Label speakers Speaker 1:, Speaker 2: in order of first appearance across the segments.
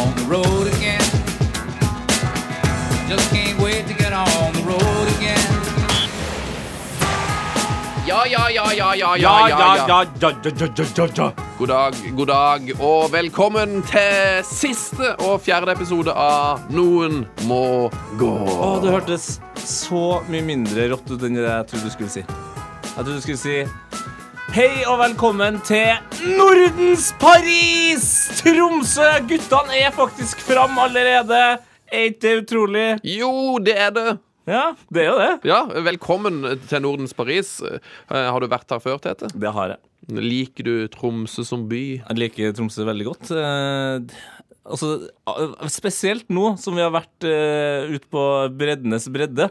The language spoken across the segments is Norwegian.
Speaker 1: on the road again. Just can't wait to get on the road again. Ja, ja, ja, ja, ja, ja, ja, ja. God dag, god dag, og velkommen til siste og fjerde episode av Noen må gå.
Speaker 2: Å, det hørtes så mye mindre rått ut enn det jeg trodde du skulle si. Jeg trodde du skulle si Hei og velkommen til Nordens Paris! Tromsø! Guttene er faktisk fram allerede. Er ikke det utrolig?
Speaker 1: Jo, det er det.
Speaker 2: Ja, det er jo det.
Speaker 1: Ja, velkommen til Nordens Paris. Eh, Har du vært her før, Tete?
Speaker 2: Det har jeg.
Speaker 1: Liker du Tromsø som by?
Speaker 2: Jeg liker Tromsø veldig godt. Eh, altså, eh, spesielt nå som vi har vært eh, ute på breddenes bredde,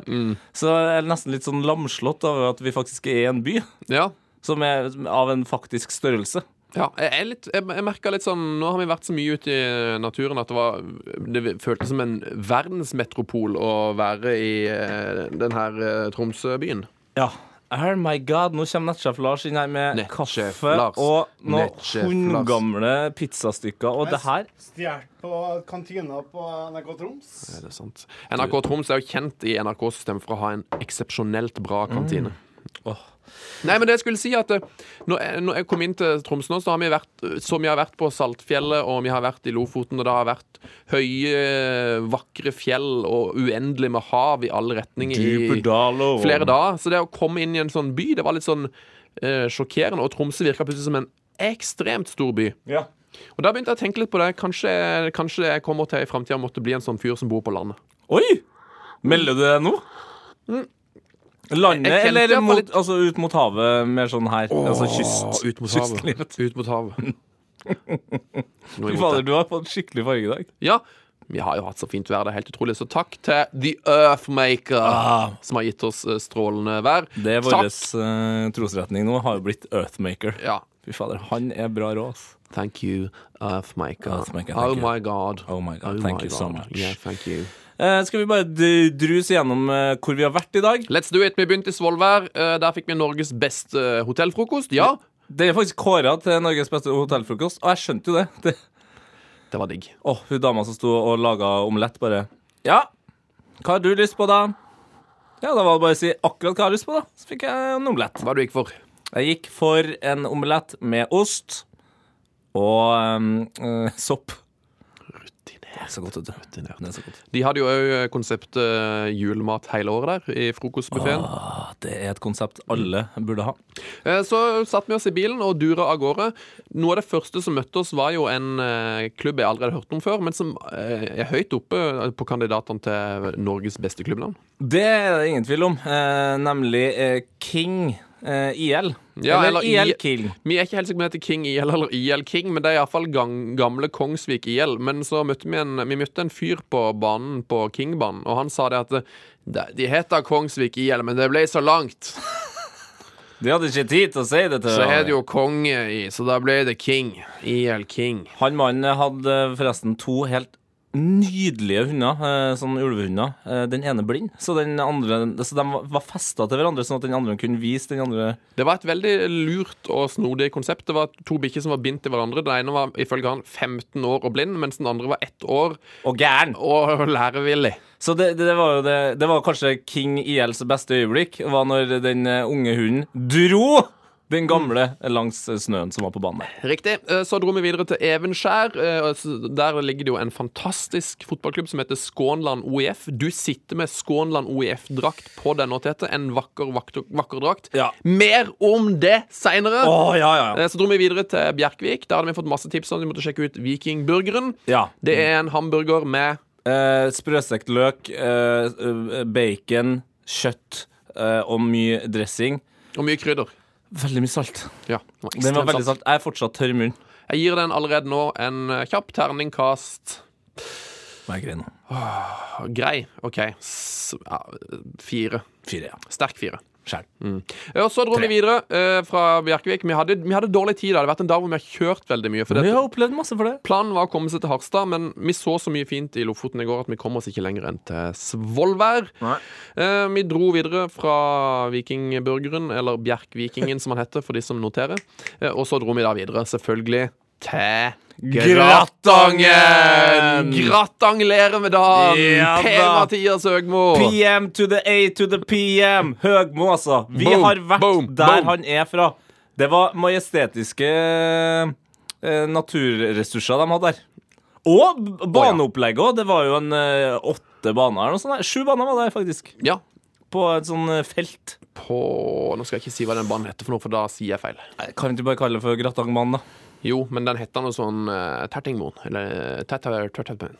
Speaker 2: så er jeg nesten litt sånn lamslått av at vi faktisk er en by.
Speaker 1: Ja.
Speaker 2: Som er av en faktisk størrelse.
Speaker 1: Ja, jeg, er litt, jeg, jeg merket litt sånn Nå har vi vært så mye ute i naturen at det, var, det føltes som en verdensmetropol å være i eh, den her eh, Tromsø-byen.
Speaker 2: Ja. Oh my god, nå kommer nettsjef Lars inn her med
Speaker 1: Nettsjef
Speaker 2: kaffe
Speaker 1: Lars.
Speaker 2: og noen
Speaker 1: Nettsjef Lars.
Speaker 2: hundgamle pizzastykker. Og det her
Speaker 3: Stjålet på kantina på NRK Troms.
Speaker 1: Er det sant? NRK Troms er jo kjent i NRK-systemet for å ha en eksepsjonelt bra kantine.
Speaker 2: Åh.
Speaker 1: Nei, men det jeg skulle si at eh, når jeg, når jeg kom inn til Troms nå, så har vi vært som vi har vært på Saltfjellet, og vi har vært i Lofoten, og det har vært høye, vakre fjell og uendelig med hav i alle retninger. i-
Speaker 2: Djupedal og
Speaker 1: flere dager. Så det å komme inn i en sånn by, det var litt sånn eh, sjokkerende. Og Tromsø virka plutselig som en ekstremt stor by.
Speaker 2: Ja.
Speaker 1: Og da begynte jeg å tenke litt på det. Kanskje, kanskje jeg kommer til i framtida måtte bli en sånn fyr som bor på landet.
Speaker 2: Oi! Melder du deg nå?
Speaker 1: Jeg-
Speaker 2: Landet
Speaker 1: jeg kjente
Speaker 2: eller
Speaker 1: jeg var
Speaker 2: mot,
Speaker 1: litt-
Speaker 2: altså, ut mot havet, mer sånn her? altså
Speaker 1: Åh,
Speaker 2: kyst.
Speaker 1: ut mot havet.
Speaker 2: Kystlivet.
Speaker 1: Ut mot havet. Noe
Speaker 2: Fy
Speaker 1: imot
Speaker 2: fader,
Speaker 1: det.
Speaker 2: du har fått skikkelig farge i dag.
Speaker 1: Ja. Vi har jo hatt så fint vær, det er helt utrolig. Så takk til The Earthmaker, som har gitt oss eh, strålende vær.
Speaker 2: Ah. Det er
Speaker 1: Takk.
Speaker 2: vår eh, trosretning nå, har jo blitt Earthmaker.
Speaker 1: Ja.
Speaker 2: Fy fader, han er bra råd, ass.
Speaker 1: Thank you, Earthmaker.
Speaker 2: Earthmaker,
Speaker 1: oh,
Speaker 2: thank you.
Speaker 1: my God.
Speaker 2: Oh my God, thank you so much.
Speaker 1: Yeah, thank you.
Speaker 2: Eh, skal vi bare d- druse gjennom eh, hvor vi har vært i dag?
Speaker 1: Let's do it. Vi begynte i Svolvær. Eh, Der fikk vi Norges beste eh, hotellfrokost. Ja,
Speaker 2: Det er faktisk kåra til Norges beste hotellfrokost, og jeg skjønte jo det. det.
Speaker 1: det var digg.
Speaker 2: Åh, hun dama som sto og laga omelett, bare Ja, hva har du lyst på, da? Ja, da var det bare å si akkurat hva jeg har lyst på, da. Så fikk jeg en omelett.
Speaker 1: Hva du gikk for?
Speaker 2: Jeg gikk for en omelett med ost og ehm, eh, sopp. Det er så godt, vet du. Det er så godt.
Speaker 1: De hadde jo òg konseptet eh, julemat hele året der, i frokostbuffeen.
Speaker 2: Ah, Det er et konsept alle burde ha.
Speaker 1: Eh, Så satt vi oss i bilen og dura av gårde. Noe av det første som møtte oss, var jo en eh, klubb jeg allerede hørte om før, men som eh, er høyt oppe på kandidatene til Norges beste klubbnavn.
Speaker 2: Det er det ingen tvil om, eh, nemlig eh, King eh, IL.
Speaker 1: Ja, eller
Speaker 2: eller IL
Speaker 1: I-
Speaker 2: King.
Speaker 1: Vi er ikke helt sikre på om det heter King IL eller IL King, men det er iallfall gamle Kongsvik IL. Men så møtte vi en, vi møtte en fyr på banen på Kingbanen, og han sa det at "De- de heter Kongsvik IL, men det ble så langt.
Speaker 2: De hadde ikke tid til å si det til
Speaker 1: Så er det
Speaker 2: hverandre.
Speaker 1: jo konge i, så da ble det King. IL King.
Speaker 2: Han mannen hadde eh, forresten to helt nydelige hunder, eh, sånn ulvehunder. Eh, Den ene blind, så den andre Så de var- var festa til hverandre, sånn at den andre kunne vise den andre
Speaker 1: Det var et veldig lurt og snodig konsept. Det var to bikkjer som var bindt til hverandre. Den ene var ifølge han 15 år og blind, mens den andre var ett år
Speaker 2: Og gæren!
Speaker 1: og lærevillig.
Speaker 2: Så det, det, det var jo det Det var kanskje King ILs beste øyeblikk, var når den eh, unge hunden dro den gamle langs eh, snøen som var på banen der.
Speaker 1: Riktig. Eh, Så dro vi videre til Evenskjær. eh, og s- Der ligger det jo en fantastisk fotballklubb som heter Skånland OIF. Du sitter med Skånland OIF-drakt på denne tete. En vakker, vakker, vakker drakt.
Speaker 2: Ja.
Speaker 1: Mer om det seinere.
Speaker 2: Å, ja, ja, ja.
Speaker 1: Så dro vi videre til Bjerkvik. Der hadde vi fått masse tips om vi måtte sjekke ut Vikingburgeren.
Speaker 2: ja.
Speaker 1: Det er en hamburger med
Speaker 2: Eh, sprøstekt løk, eh, eh, bacon, kjøtt eh, og mye dressing.
Speaker 1: og mye krydder.
Speaker 2: Veldig mye salt.
Speaker 1: Ja, den var
Speaker 2: Den var
Speaker 1: ekstremt
Speaker 2: veldig
Speaker 1: salt.
Speaker 2: salt. Jeg er fortsatt tørr i munnen.
Speaker 1: Jeg gir den allerede nå en eh, kjapp terningkast.
Speaker 2: Hva er greia nå?
Speaker 1: Grei. OK. S ja, fire.
Speaker 2: Fire, ja.
Speaker 1: Sterk fire.
Speaker 2: sjæl.
Speaker 1: Ja, og så dro
Speaker 2: Tre.
Speaker 1: vi videre eh, fra Bjerkevik. Vi hadde, vi hadde dårlig tid. Det hadde vært en dag hvor vi har kjørt veldig mye. For
Speaker 2: Vi
Speaker 1: det,
Speaker 2: har opplevd masse for det.
Speaker 1: planen var å komme seg til Harstad, men vi så så mye fint i Lofoten i går at vi kom oss ikke lenger enn til Svolvær. Eh, vi dro videre fra Vikingburgeren, eller Bjerkvikingen som han heter, for de som noterer. Eh, og så dro vi da videre, selvfølgelig, til Gratangen!
Speaker 2: Gratangen!
Speaker 1: Gratanglerer-medaljen!
Speaker 2: Ja da.
Speaker 1: Per-Mathias Høgmo!
Speaker 2: PM to the A to the PM. Høgmo, altså. Vi
Speaker 1: Boom,
Speaker 2: har vært
Speaker 1: boom,
Speaker 2: der
Speaker 1: boom.
Speaker 2: han er fra. Det var majestetiske eh, naturressurser de hadde der. Og b- baneopplegget òg. Det var jo en eh, åtte baner eller noe sånt. der. Sju baner var det faktisk.
Speaker 1: Ja.
Speaker 2: På et sånn eh, felt.
Speaker 1: På Nå skal jeg ikke si hva den banen heter, for noe, for da sier jeg feil.
Speaker 2: Nei, Kan vi ikke bare kalle det for Gratangbanen, da?
Speaker 1: Jo, men den heter noe sånn uh, Tertingmoen. Eller Tertingmoen.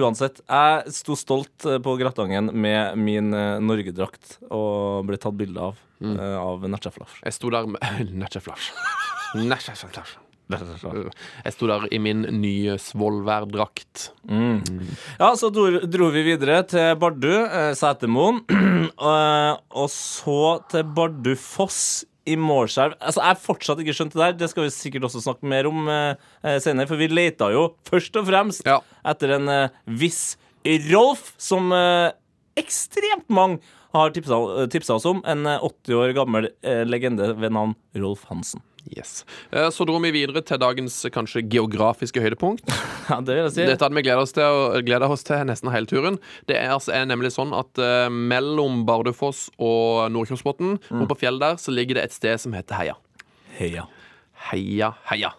Speaker 2: Uansett. Jeg sto stolt eh, på Gratangen med min eh, Norgedrakt og ble tatt bilde av eh, av Natcha Flash.
Speaker 1: Jeg sto der med Natchaflash. Natchaflash. Jeg sto der i min nye Svolvær-drakt.
Speaker 2: Ja, så dro, dro vi videre til Bardu, eh, Setermoen, eh, og så til Bardu Foss i Målskjerv. Altså, jeg har fortsatt ikke skjønt det der. Det skal vi sikkert også snakke mer om eh, eh, senere, for vi leita jo først og fremst
Speaker 1: Ja.
Speaker 2: etter en eh, viss Rolf, som eh, ekstremt mange har tipsa, tipsa oss om. En eh, 80 år gammel eh, legende ved navn Rolf Hansen.
Speaker 1: Yes. Eh, Så dro vi videre til dagens eh, kanskje geografiske høydepunkt.
Speaker 2: Ja, det vil jeg si.
Speaker 1: Dette hadde vi gleda oss til, og gleda oss til nesten hele turen. Det er, altså, er nemlig sånn at eh, mellom Bardufoss og Nordkjosbotn, oppe på fjellet der, så ligger det et sted som heter Heia.
Speaker 2: Heia.
Speaker 1: Heia, heia.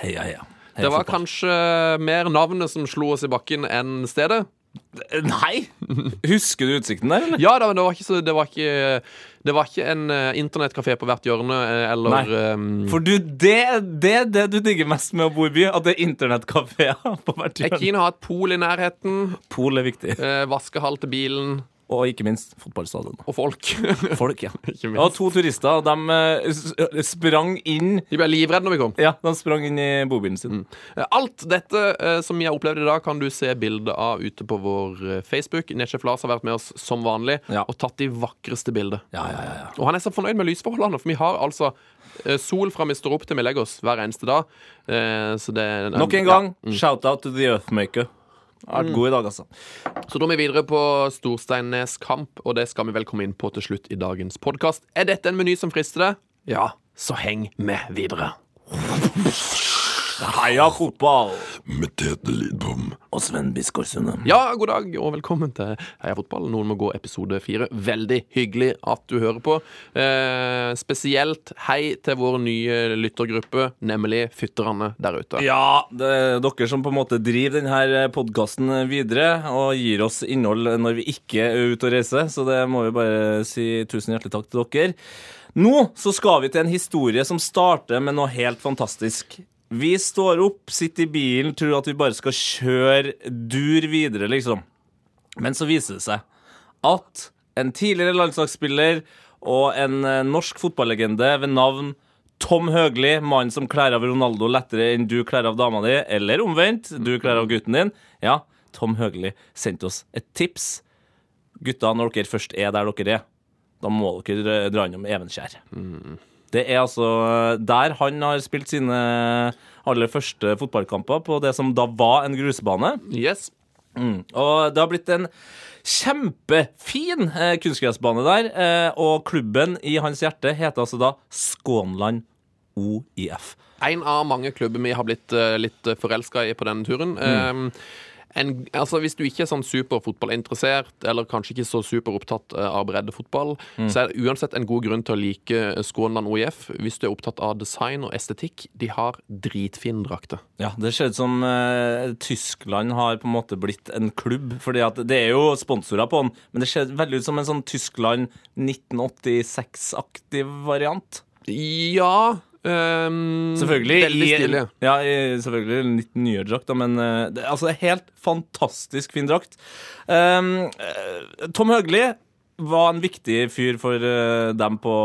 Speaker 2: Heia, heia. Heia
Speaker 1: Det var
Speaker 2: fotball.
Speaker 1: kanskje mer navnet som slo oss i bakken enn stedet.
Speaker 2: Eh, Nei! Husker du utsikten der, eller?
Speaker 1: Ja da, men det var ikke, så, det var ikke, det var ikke en eh, internettkafé på hvert hjørne, eh, eller ehm,
Speaker 2: For du, det, det er det du digger mest med å bo i by, at det er internettkafeer på hvert
Speaker 1: Jeg
Speaker 2: hjørne.
Speaker 1: keen å ha et pol i nærheten,
Speaker 2: Pol er viktig.
Speaker 1: eh, vaskehall til bilen
Speaker 2: Og ikke minst fotballstadion.
Speaker 1: og folk. De
Speaker 2: Folk, ja. Det
Speaker 1: minst.
Speaker 2: var to turister, og de eh, s- sprang inn
Speaker 1: ble livredde når vi kom.
Speaker 2: Ja, de sprang inn i bobilen sin.
Speaker 1: Eh, Alt dette eh, som jeg opplevde i dag, kan du se bilde av ute på vår eh, Facebook. Nesjef Lars har vært med oss som vanlig
Speaker 2: Ja.
Speaker 1: og tatt de vakreste bildene.
Speaker 2: Ja, ja, ja, ja.
Speaker 1: Og han er så fornøyd med lysforholdene, for vi har altså eh, sol fra vi står opp til vi legger oss hver eneste dag. Eh, så det er
Speaker 2: Nok en gang, shout-out to the Earthmaker. Jeg har vært god i dag, altså.
Speaker 1: Så drar vi videre på Storsteinnes kamp, og det skal vi vel komme inn på til slutt i dagens podkast. Er dette en meny som frister deg? Ja, så heng med videre.
Speaker 2: Heia fotball!
Speaker 4: med Tete Lidbom.
Speaker 2: Og Sven Biskår Sunde.
Speaker 1: Ja, god dag og velkommen til Heia fotball. Noen må gå episode fire. Veldig hyggelig at du hører på. Eh, spesielt hei til vår nye lyttergruppe, nemlig fytterne der ute.
Speaker 2: Ja, det er dere som på en måte driver denne podkasten videre og gir oss innhold når vi ikke er ute og reiser, så det må vi bare si tusen hjertelig takk til dere. Nå så skal vi til en historie som starter med noe helt fantastisk. Vi står opp, sitter i bilen, tror at vi bare skal kjøre dur videre, liksom. Men så viser det seg at en tidligere landslagsspiller og en eh, norsk fotballegende ved navn Tom Høgli, mannen som kler av Ronaldo lettere enn du kler av dama di, eller omvendt, du kler av gutten din. Ja, Tom Høgli sendte oss et tips. Gutta, når dere først er der dere er, da må dere eh, dra innom Evenskjær. Det er altså eh, der han har spilt sine aller første fotballkamper, på det som da var en grusbane.
Speaker 1: Yes.
Speaker 2: Og det har blitt en kjempefin eh, kunstgressbane der. Eh, og klubben i hans hjerte heter altså da Skånland OIF.
Speaker 1: En av mange klubber vi har blitt eh, litt forelska i på denne turen.
Speaker 2: Mm.
Speaker 1: Eh, en, altså Hvis du ikke er sånn superfotballinteressert, eller kanskje ikke så superopptatt eh, av breddefotball,
Speaker 2: Mm.
Speaker 1: så er det uansett en god grunn til å like eh, Skånland OIF hvis du er opptatt av design og estetikk. De har dritfine drakter.
Speaker 2: Ja, Det ser ut som eh, Tyskland har på en måte blitt en klubb. fordi at det er jo sponsorer på den, men det ser veldig ut som en sånn Tyskland 1986-aktig variant.
Speaker 1: Ja ehm,
Speaker 2: Selvfølgelig.
Speaker 1: Veldig
Speaker 2: i-
Speaker 1: stilig.
Speaker 2: Ja, i, selvfølgelig en litt nyere drakt, da, men eh, det, altså det er helt fantastisk fin drakt. Ehm, eh, Tom Høgli var en viktig fyr for eh, dem på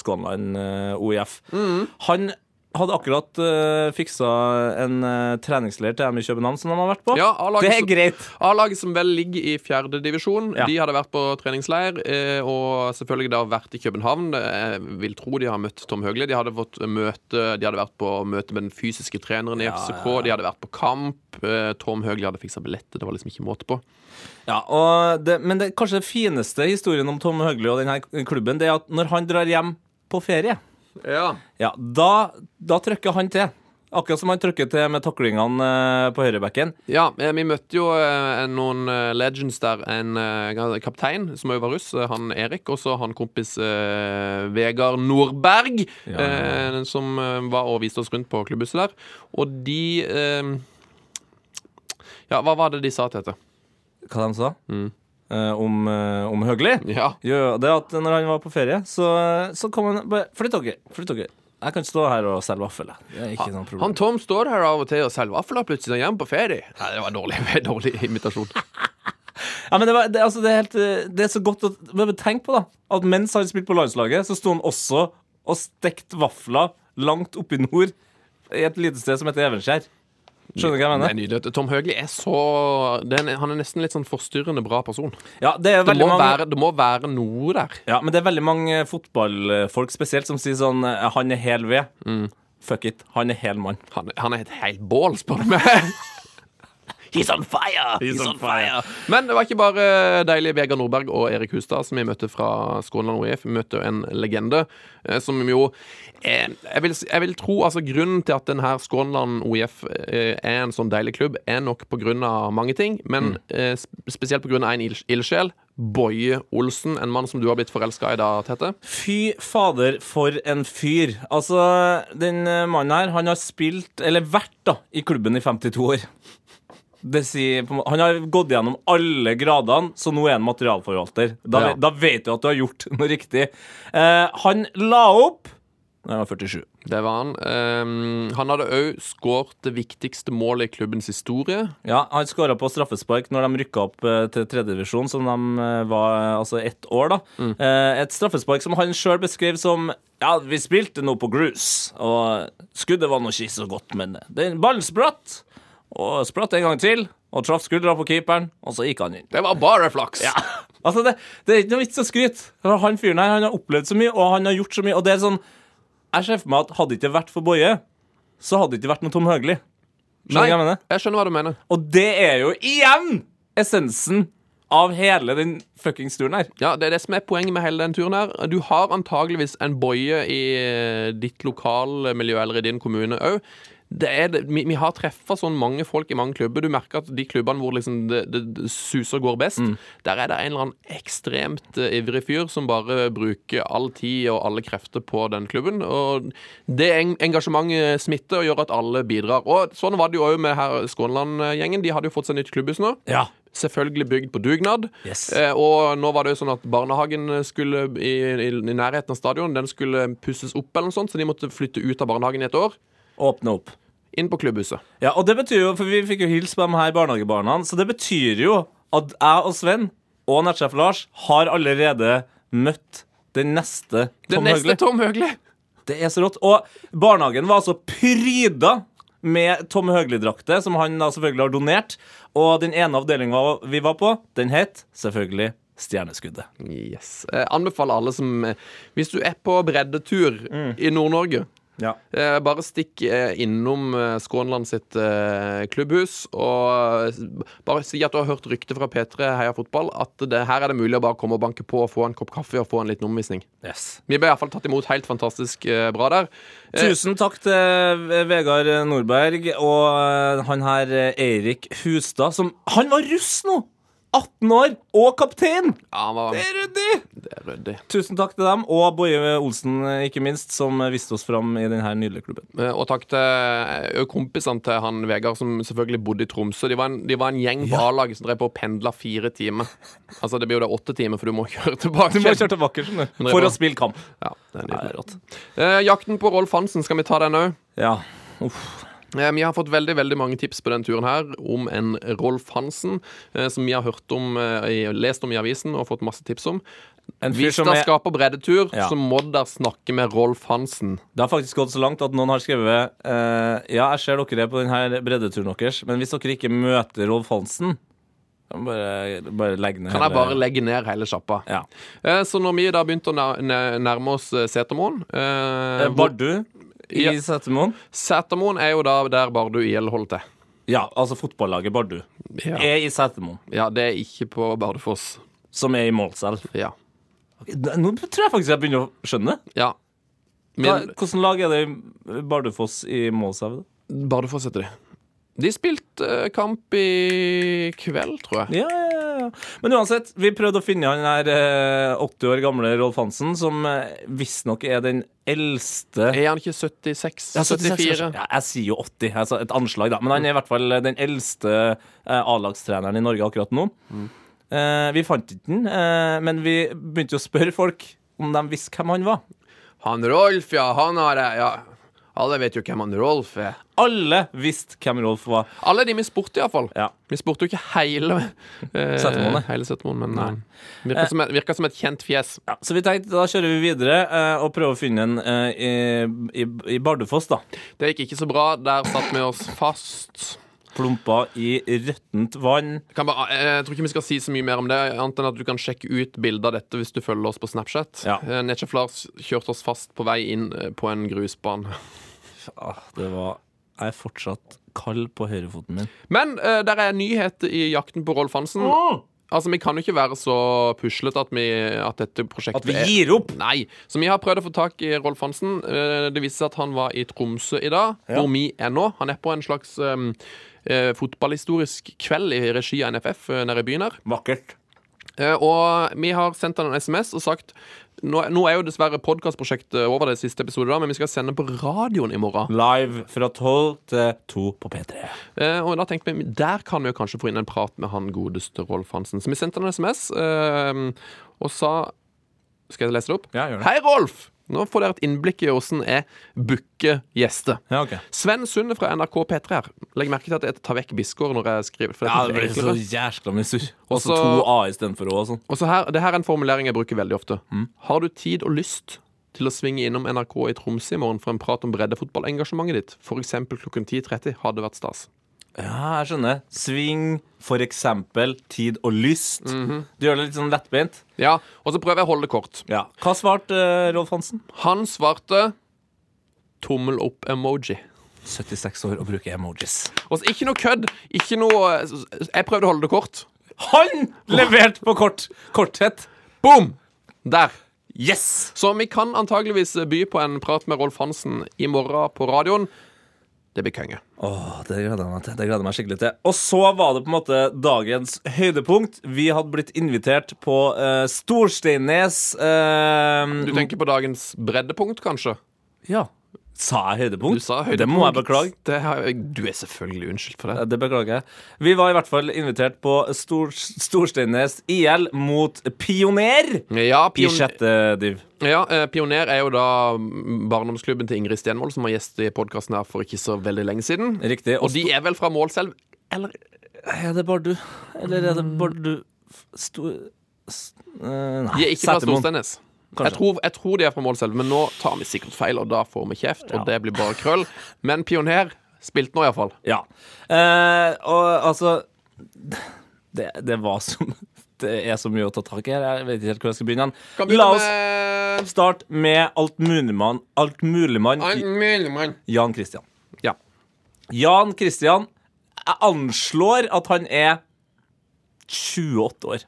Speaker 2: Skånland eh, OIF. Han hadde akkurat eh, fiksa en eh, treningsleir til dem i København som de har vært på.
Speaker 1: Ja, A-laget
Speaker 2: det er
Speaker 1: som-
Speaker 2: greit.
Speaker 1: A-laget som vel ligger i fjerde divisjon,
Speaker 2: Ja.
Speaker 1: de hadde vært på treningsleir eh, og selvfølgelig da vært i København. Jeg vil tro de har møtt Tom Høgli. De hadde fått møte De hadde vært på møte med den fysiske treneren i FCK. De hadde vært på kamp. Eh, Tom Høgli hadde fiksa billetter. Det var liksom ikke måte på.
Speaker 2: Ja, og det, men det, kanskje det fineste historien om Tom Høgli og denne klubben, det er at når han drar hjem på ferie,
Speaker 1: Ja.
Speaker 2: ja, da, da trykker han til. Akkurat som han trykker til med taklingene eh, på høyrebekken.
Speaker 1: eh, Vi møtte jo eh, noen eh, legends der. En eh, kaptein som også var russ, eh, han Erik, og så han kompis eh, Vegard Nordberg,
Speaker 2: Ja, ja.
Speaker 1: Eh, som eh, var og viste oss rundt på klubbhuset der. Og de eh, Ja, hva var det de sa til dette?
Speaker 2: Hva de sa? Eh, om, eh, om Høgli?
Speaker 1: Mm. Ja.
Speaker 2: Jo, jo, det er at når han var på ferie, så, så kom han bare Flytt dere, flytt dere. Jeg kan stå her og selge vaffel. jeg. Det er ikke noe problem.
Speaker 1: Han Tom står her av og til og selger vafler plutselig hjemme på ferie. Nei, det var dårlig, dårlig imitasjon.
Speaker 2: Ja, men det, var, det, altså, det, er helt, eh, det er så godt å men Tenk på da at mens han spilte på landslaget, så sto han også og stekte vafler langt oppe i nord i et lite sted som heter Evenskjær. Skjønner du hva jeg
Speaker 1: Det
Speaker 2: mener?
Speaker 1: er nydelig. Tom Høgli er så det er en, Han er nesten litt sånn forstyrrende bra person.
Speaker 2: Ja, det er
Speaker 1: Det
Speaker 2: veldig
Speaker 1: må,
Speaker 2: mange
Speaker 1: være, det må være noe der.
Speaker 2: Ja, men det er veldig mange fotballfolk spesielt som sier sånn eh, Han er hel ved. Fuck it. Han er hel mann.
Speaker 1: Han, han er et helt bål, spør du meg. He's on fire!
Speaker 2: He's on fire.
Speaker 1: Men det var ikke bare deilige Vegard Nordberg og Erik Hustad som vi møtte fra Skånland OIF. Vi møtte en legende eh, som jo eh, jeg, vil, s- jeg vil tro altså grunnen til at den her Skånland OIF eh, er en sånn deilig klubb, er nok på grunn av mange ting, men eh, sp- spesielt på grunn av en ilds- ildsjel. Boje Olsen, en mann som du har blitt forelska i da, Tete.
Speaker 2: Fy fader, for en fyr. Altså, den eh, mannen her, han har spilt, eller vært da, i klubben i 52 år. Det sier, på en må- han har gått gjennom alle gradene, så nå er han materialforvalter. Da,
Speaker 1: Ja.
Speaker 2: da vet du at du har gjort noe riktig. Eh, han la opp da han var 47.
Speaker 1: Det var han. Eh, han hadde òg skåret det viktigste målet i klubbens historie.
Speaker 2: Ja, Han skåra på straffespark når de rykka opp eh, til tredjedivisjon, som de eh, var eh, altså ett år, da. Eh, Et straffespark som han sjøl beskrev som Ja, vi spilte nå på grus, og skuddet var nå ikke så godt, men den ballen spratt. Og spratt en gang til, og traff skuldra på keeperen, og så gikk han inn.
Speaker 1: Det var bare flaks.
Speaker 2: Altså, det, det er ikke noe vits å skryte. Han fyren her han har opplevd så mye, og han har gjort så mye. Og det er sånn Jeg ser for meg at hadde det ikke vært for Boje, så hadde det ikke vært noe Tom Høgli. Skjønner du hva jeg mener?
Speaker 1: jeg skjønner hva du mener.
Speaker 2: Og det er jo igjen essensen av hele den fuckings turen her.
Speaker 1: Ja, Det er det som er poenget med hele den turen her. Du har antageligvis en boie i eh, ditt lokalmiljø eller i din kommune òg. Det er det, vi, vi har treffa sånn mange folk i mange klubber. Du merker at de klubbene hvor liksom det, det, det suser og går best,
Speaker 2: Mm.
Speaker 1: der er det en eller annen ekstremt eh, ivrig fyr som bare bruker all tid og alle krefter på den klubben. Og det eng- engasjementet smitter og gjør at alle bidrar. Og sånn var det jo òg med her Skånland-gjengen. De hadde jo fått seg nytt klubbhus nå.
Speaker 2: Ja.
Speaker 1: Selvfølgelig bygd på dugnad.
Speaker 2: Yes.
Speaker 1: Eh, og nå var det jo sånn at barnehagen skulle i, i, i nærheten av stadion Den skulle pusses opp, eller noe sånt, så de måtte flytte ut av barnehagen i et år.
Speaker 2: Åpne opp.
Speaker 1: Inn på klubbhuset.
Speaker 2: Ja, og det betyr jo, for Vi fikk jo hilse på de her barnehagebarna, så det betyr jo at jeg og Sven og nettsjef Lars har allerede møtt den neste
Speaker 1: Den
Speaker 2: Tom
Speaker 1: neste
Speaker 2: Høgli.
Speaker 1: Tom Høgli!
Speaker 2: Det er så rått. Og barnehagen var altså pryda med Tom Høgli-drakter, som han da selvfølgelig har donert. Og den ene avdelinga vi var på, den het selvfølgelig Stjerneskuddet.
Speaker 1: Yes. Eh, anbefaler alle som eh, Hvis du er på breddetur i Nord-Norge
Speaker 2: Ja.
Speaker 1: eh, bare stikk eh, innom eh, Skånland sitt eh, klubbhus og eh, bare si at du har hørt rykte fra P3 Heia Fotball at det, her er det mulig å bare komme og banke på og få en kopp kaffe og få en liten omvisning.
Speaker 2: Yes.
Speaker 1: Vi ble i hvert fall tatt imot helt fantastisk eh, bra der. Eh,
Speaker 2: Tusen takk til Ve- Vegard Nordberg og eh, han her eh, Eirik Hustad, som Han var russ nå! 18 år og kaptein!
Speaker 1: ja, han var
Speaker 2: Det er ryddig!
Speaker 1: det er ryddig.
Speaker 2: Tusen takk til dem, og Boje Olsen, eh, ikke minst, som eh, viste oss fram i denne nydelige klubben.
Speaker 1: Eh, Og takk til eh, kompisene til han Vegard, som selvfølgelig bodde i Tromsø. De var en, de var en gjeng på A-laget som drev på og pendla fire timer. Altså, det blir jo da åtte timer, for du må kjøre tilbake.
Speaker 2: Du må kjøre tilbake skjønner du, for å spille kamp.
Speaker 1: Ja, det er
Speaker 2: Det
Speaker 1: nydelig.
Speaker 2: er rått.
Speaker 1: Eh, jakten på Rolf Hansen, skal vi ta den òg?
Speaker 2: Ja. Uff.
Speaker 1: Eh, Vi har fått veldig veldig mange tips på denne turen her om en Rolf Hansen eh, som vi har hørt om, eh, lest om i avisen og fått masse tips om.
Speaker 2: En fyr
Speaker 1: Hvis
Speaker 2: som
Speaker 1: dere
Speaker 2: er,
Speaker 1: skal på breddetur,
Speaker 2: Ja.
Speaker 1: så må dere snakke med Rolf Hansen.
Speaker 2: det har faktisk gått så langt at noen har skrevet eh, Ja, jeg ser dere på denne breddeturen deres, men hvis dere ikke møter Rolf Hansen kan bare, bare legge ned
Speaker 1: Kan jeg bare legge ned hele sjappa?
Speaker 2: Ja.
Speaker 1: Eh, Så når vi da begynte å nær- nær- nærme oss eh, Setermoen eh,
Speaker 2: Eh, Bardu i
Speaker 1: Ja.
Speaker 2: Setermoen.
Speaker 1: Setermoen er jo da der Bardu IL holder til.
Speaker 2: Ja, altså fotballaget Bardu
Speaker 1: Ja.
Speaker 2: er i Setermoen,
Speaker 1: ja, det er ikke på Bardufoss.
Speaker 2: som er i Målselv.
Speaker 1: Ja.
Speaker 2: Nå tror jeg faktisk jeg begynner å skjønne.
Speaker 1: ja.
Speaker 2: Hva,
Speaker 1: Men
Speaker 2: hvordan lag er det i Bardufoss i Målselv?
Speaker 1: Bardufoss heter de. De spilte eh, kamp i kveld, tror jeg.
Speaker 2: Ja, ja, ja. Men uansett, vi prøvde å finne han her eh, 80 år gamle Rolf Hansen, som eh, visstnok er den eldste
Speaker 1: Er han ikke 76?
Speaker 2: Ja, 76
Speaker 1: 74?
Speaker 2: kanskje. Ja, jeg sier jo 80, altså et anslag, da. Men han er i hvert fall den eldste eh, A-lagstreneren i Norge akkurat nå. Eh, vi fant ikke den, eh, men vi begynte jo å spørre folk om de visste hvem han var.
Speaker 1: Han Rolf, ja, han har jeg, ja. Alle vet jo hvem han Rolf er.
Speaker 2: Alle visste hvem Rolf var.
Speaker 1: Alle de vi spurte, iallfall.
Speaker 2: Ja.
Speaker 1: Vi spurte jo ikke hele eh,
Speaker 2: Setermoen, nei.
Speaker 1: hele Setermoen, men eh, virka, som et, virka som et kjent fjes.
Speaker 2: Ja, så vi tenkte da kjører vi videre eh, og prøver å finne en eh, i, i, i Bardufoss, da.
Speaker 1: Det gikk ikke så bra. Der satt vi oss fast.
Speaker 2: Plumpa i røttent vann.
Speaker 1: Jeg, kan bare, eh, jeg tror ikke vi skal si så mye mer om det, annet enn at du kan sjekke ut bilde av dette hvis du følger oss på Snapchat.
Speaker 2: Ja.
Speaker 1: Eh, Netchef Lars kjørte oss fast på vei inn eh, på en grusbane.
Speaker 2: Ah, det var Jeg er fortsatt kald på høyrefoten min.
Speaker 1: Men eh, der er nyhet i jakten på Rolf Hansen. Altså, Vi kan jo ikke være så puslete at, vi- at dette prosjektet
Speaker 2: At vi
Speaker 1: er-
Speaker 2: gir opp!
Speaker 1: Nei. Så vi har prøvd å få tak i Rolf Hansen. Eh, Det viste seg at han var i Tromsø i dag, hvor vi er nå. Han er på en slags um, eh, fotballhistorisk kveld i regi av NFF eh, nede i byen her.
Speaker 2: Vakkert.
Speaker 1: Eh, og vi har sendt han en SMS og sagt nå, nå er jo dessverre podkastprosjektet over det siste episode, da, men vi skal sende på radioen i morgen.
Speaker 2: Live fra 12 til 2 på P3.
Speaker 1: Eh, og da tenkte vi, Der kan vi jo kanskje få inn en prat med han godeste Rolf Hansen. Så vi sendte han en SMS eh, og sa Skal jeg lese det opp?
Speaker 2: Ja, gjør det.
Speaker 1: Hei, Rolf! Nå får dere et innblikk i åssen jeg booker gjester.
Speaker 2: Ja, ok.
Speaker 1: Sven Sunde fra NRK P3 her. Legg merke til at jeg tar vekk Bisgaard når jeg skriver. For det
Speaker 2: Ja,
Speaker 1: er
Speaker 2: det ble så
Speaker 1: enklere.
Speaker 2: jæskla mye surr. Og
Speaker 1: Også-
Speaker 2: så to A istedenfor Å og sånn.
Speaker 1: Og så her, det her er en formulering jeg bruker veldig ofte.
Speaker 2: Mm.
Speaker 1: Har du tid og lyst til å svinge innom NRK i Tromsø i morgen for en prat om breddefotballengasjementet ditt? F.eks. klokken 10.30 hadde vært stas.
Speaker 2: Ja, jeg skjønner. Sving, for eksempel, tid og lyst. Du gjør det litt sånn lettbeint.
Speaker 1: Ja, Og så prøver jeg å holde det kort.
Speaker 2: Ja. Hva svarte eh, Rolf Hansen?
Speaker 1: Han svarte tommel opp-emoji.
Speaker 2: 76 år og bruker emojis.
Speaker 1: Og så ikke noe kødd. Ikke noe Jeg prøvde å holde det kort.
Speaker 2: Han leverte på kort! Korthet.
Speaker 1: Boom! Der.
Speaker 2: Yes!
Speaker 1: Så vi kan antageligvis by på en prat med Rolf Hansen i morgen på radioen. Det blir konge.
Speaker 2: Åh, det gleder jeg meg til. Det gleder jeg meg skikkelig til. Og så var det på en måte dagens høydepunkt. Vi hadde blitt invitert på eh, Storsteinnes eh,
Speaker 1: Du tenker på dagens breddepunkt, kanskje?
Speaker 2: Ja. Sa jeg høydepunkt?
Speaker 1: Du sa høydepunkt.
Speaker 2: Det må jeg beklage.
Speaker 1: Det har jeg, du er selvfølgelig unnskyldt for det.
Speaker 2: Det beklager jeg. Vi var i hvert fall invitert på Stor, Storsteinnes IL mot Pioner
Speaker 1: Ja,
Speaker 2: Eh, i
Speaker 1: pion
Speaker 2: sjette div.
Speaker 1: ja, eh, Pioner er jo da mm, barndomsklubben til Ingrid Stenvold, som var gjest i podkasten her for ikke så veldig lenge siden.
Speaker 2: Riktig.
Speaker 1: Og de er vel fra Målselv? Eller Mm.
Speaker 2: Er det Bardu? Eller er det Bardu Stor... s- eh, Nei,
Speaker 1: De er ikke fra
Speaker 2: Setermoen.
Speaker 1: Storsteinnes. Jeg
Speaker 2: Kanskje.
Speaker 1: tror, jeg tror de er fra Målselv, men nå tar vi sikkert feil, og da får vi kjeft, og det blir bare krøll. Men Pioner spilte nå, iallfall.
Speaker 2: Ja. Eh, og altså det, det var som Det er så mye å ta tak i her. Jeg vet ikke helt hvor jeg skal begynne.
Speaker 1: Kan
Speaker 2: La
Speaker 1: begynne
Speaker 2: oss
Speaker 1: med
Speaker 2: starte med altmuligmann Altmuligmann
Speaker 1: Arnt Møllemann.
Speaker 2: Jan Christian.
Speaker 1: Ja.
Speaker 2: Jan Christian jeg anslår at han er 28 år.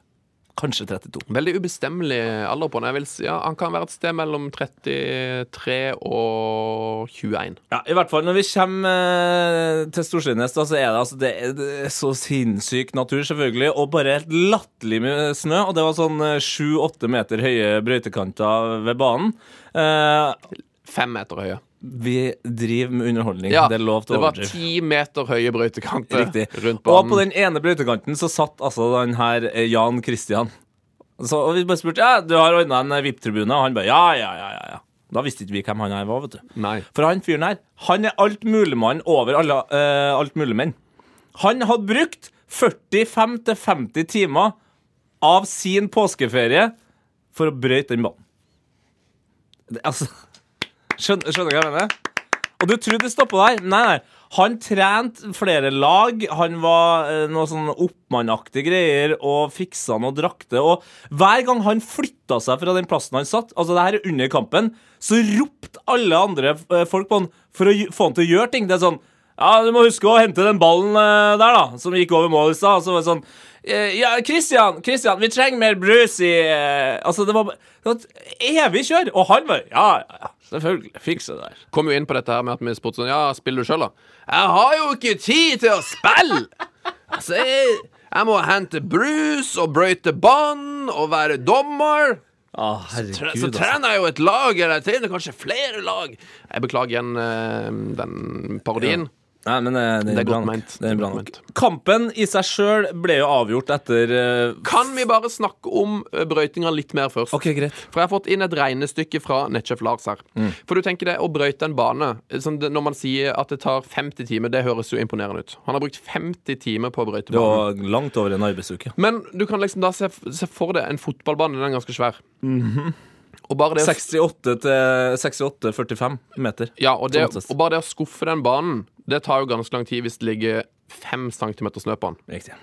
Speaker 2: Kanskje 32.
Speaker 1: Veldig ubestemmelig alder på han. Jeg vil si, ja, han kan være et sted mellom 33 og 21.
Speaker 2: Ja, I hvert fall når vi kommer eh, til Storsteinnes, da, så er det, altså, det, er, det er så sinnssyk natur, selvfølgelig, og bare helt latterlig med snø. Og det var sånn sju-åtte meter høye brøytekanter ved banen. Eh,
Speaker 1: Fem meter høye.
Speaker 2: vi driver med underholdning.
Speaker 1: Ja,
Speaker 2: det er lov til
Speaker 1: det
Speaker 2: å
Speaker 1: var
Speaker 2: overdrive.
Speaker 1: ti meter høye brøytekanter
Speaker 2: Riktig.
Speaker 1: rundt
Speaker 2: Og på
Speaker 1: banen.
Speaker 2: den ene brøytekanten så satt altså den her eh, eh, Jan Christian. Så, og vi bare spurte ja, du har ordna en VIP-tribune, og han bare ja, ja, ja. ja, ja. Da visste ikke vi hvem han her var, vet du.
Speaker 1: Nei.
Speaker 2: For han fyren her, han er altmuligmann over alle uh, altmuligmenn. Han hadde brukt 45-50 timer av sin påskeferie for å brøyte den ballen. Det, altså Skjønner, skjønner du hva jeg mener? Og du tror det stoppa der? Nei, nei. Han trente flere lag, han var eh, noe sånn oppmannaktige greier og fiksa noe drakter. Og hver gang han flytta seg fra den plassen han satt, altså det her er under kampen, så ropte alle andre eh, folk på han for å gj- få han til å gjøre ting. Det er sånn ja, du må huske å hente den ballen eh, der, da, som gikk over mål i stad. Så var det sånn eh, Ja, Christian, Christian, vi trenger mer brus i eh, Altså, det var, det var et evig kjør. Og han var Ja, ja, ja, selvfølgelig. Fikse det der.
Speaker 1: Kom jo inn på dette her med at vi spurte sånn Ja, spiller du sjøl, da? Jeg har jo ikke tid til å spille! Altså, jeg, jeg må hente brus og brøyte bånd og være dommer.
Speaker 2: Å,
Speaker 1: Tre,
Speaker 2: herregud, altså.
Speaker 1: så trener jeg jo et lag eller jeg trener kanskje flere lag. Jeg beklager igjen eh, den parodien.
Speaker 2: Nei, men eh, det,
Speaker 1: Det er
Speaker 2: bra
Speaker 1: godt
Speaker 2: nok.
Speaker 1: ment.
Speaker 2: Det er bra
Speaker 1: Godt
Speaker 2: nok.
Speaker 1: ment.
Speaker 2: Kampen i seg sjøl ble jo avgjort etter eh,
Speaker 1: Kan vi bare snakke om eh, brøytinga litt mer først?
Speaker 2: OK, greit.
Speaker 1: For jeg har fått inn et regnestykke fra Netchef Lars her. For du tenker det, å brøyte en bane eh, sånn det- Når man sier at det tar 50 timer, det høres jo imponerende ut. Han har brukt 50 timer på å brøyte
Speaker 2: Det
Speaker 1: banen.
Speaker 2: var langt over en arbeidsuke.
Speaker 1: Men du kan liksom da se, se for deg en fotballbane. Den er ganske svær.
Speaker 2: Mhm.
Speaker 1: Og bare det å
Speaker 2: 68 til 68-45 meter.
Speaker 1: Ja, og, det,
Speaker 2: Sånn sett.
Speaker 1: og bare det å skuffe den banen, det tar jo ganske lang tid hvis det ligger fem centimeter snø på den.
Speaker 2: Riktig.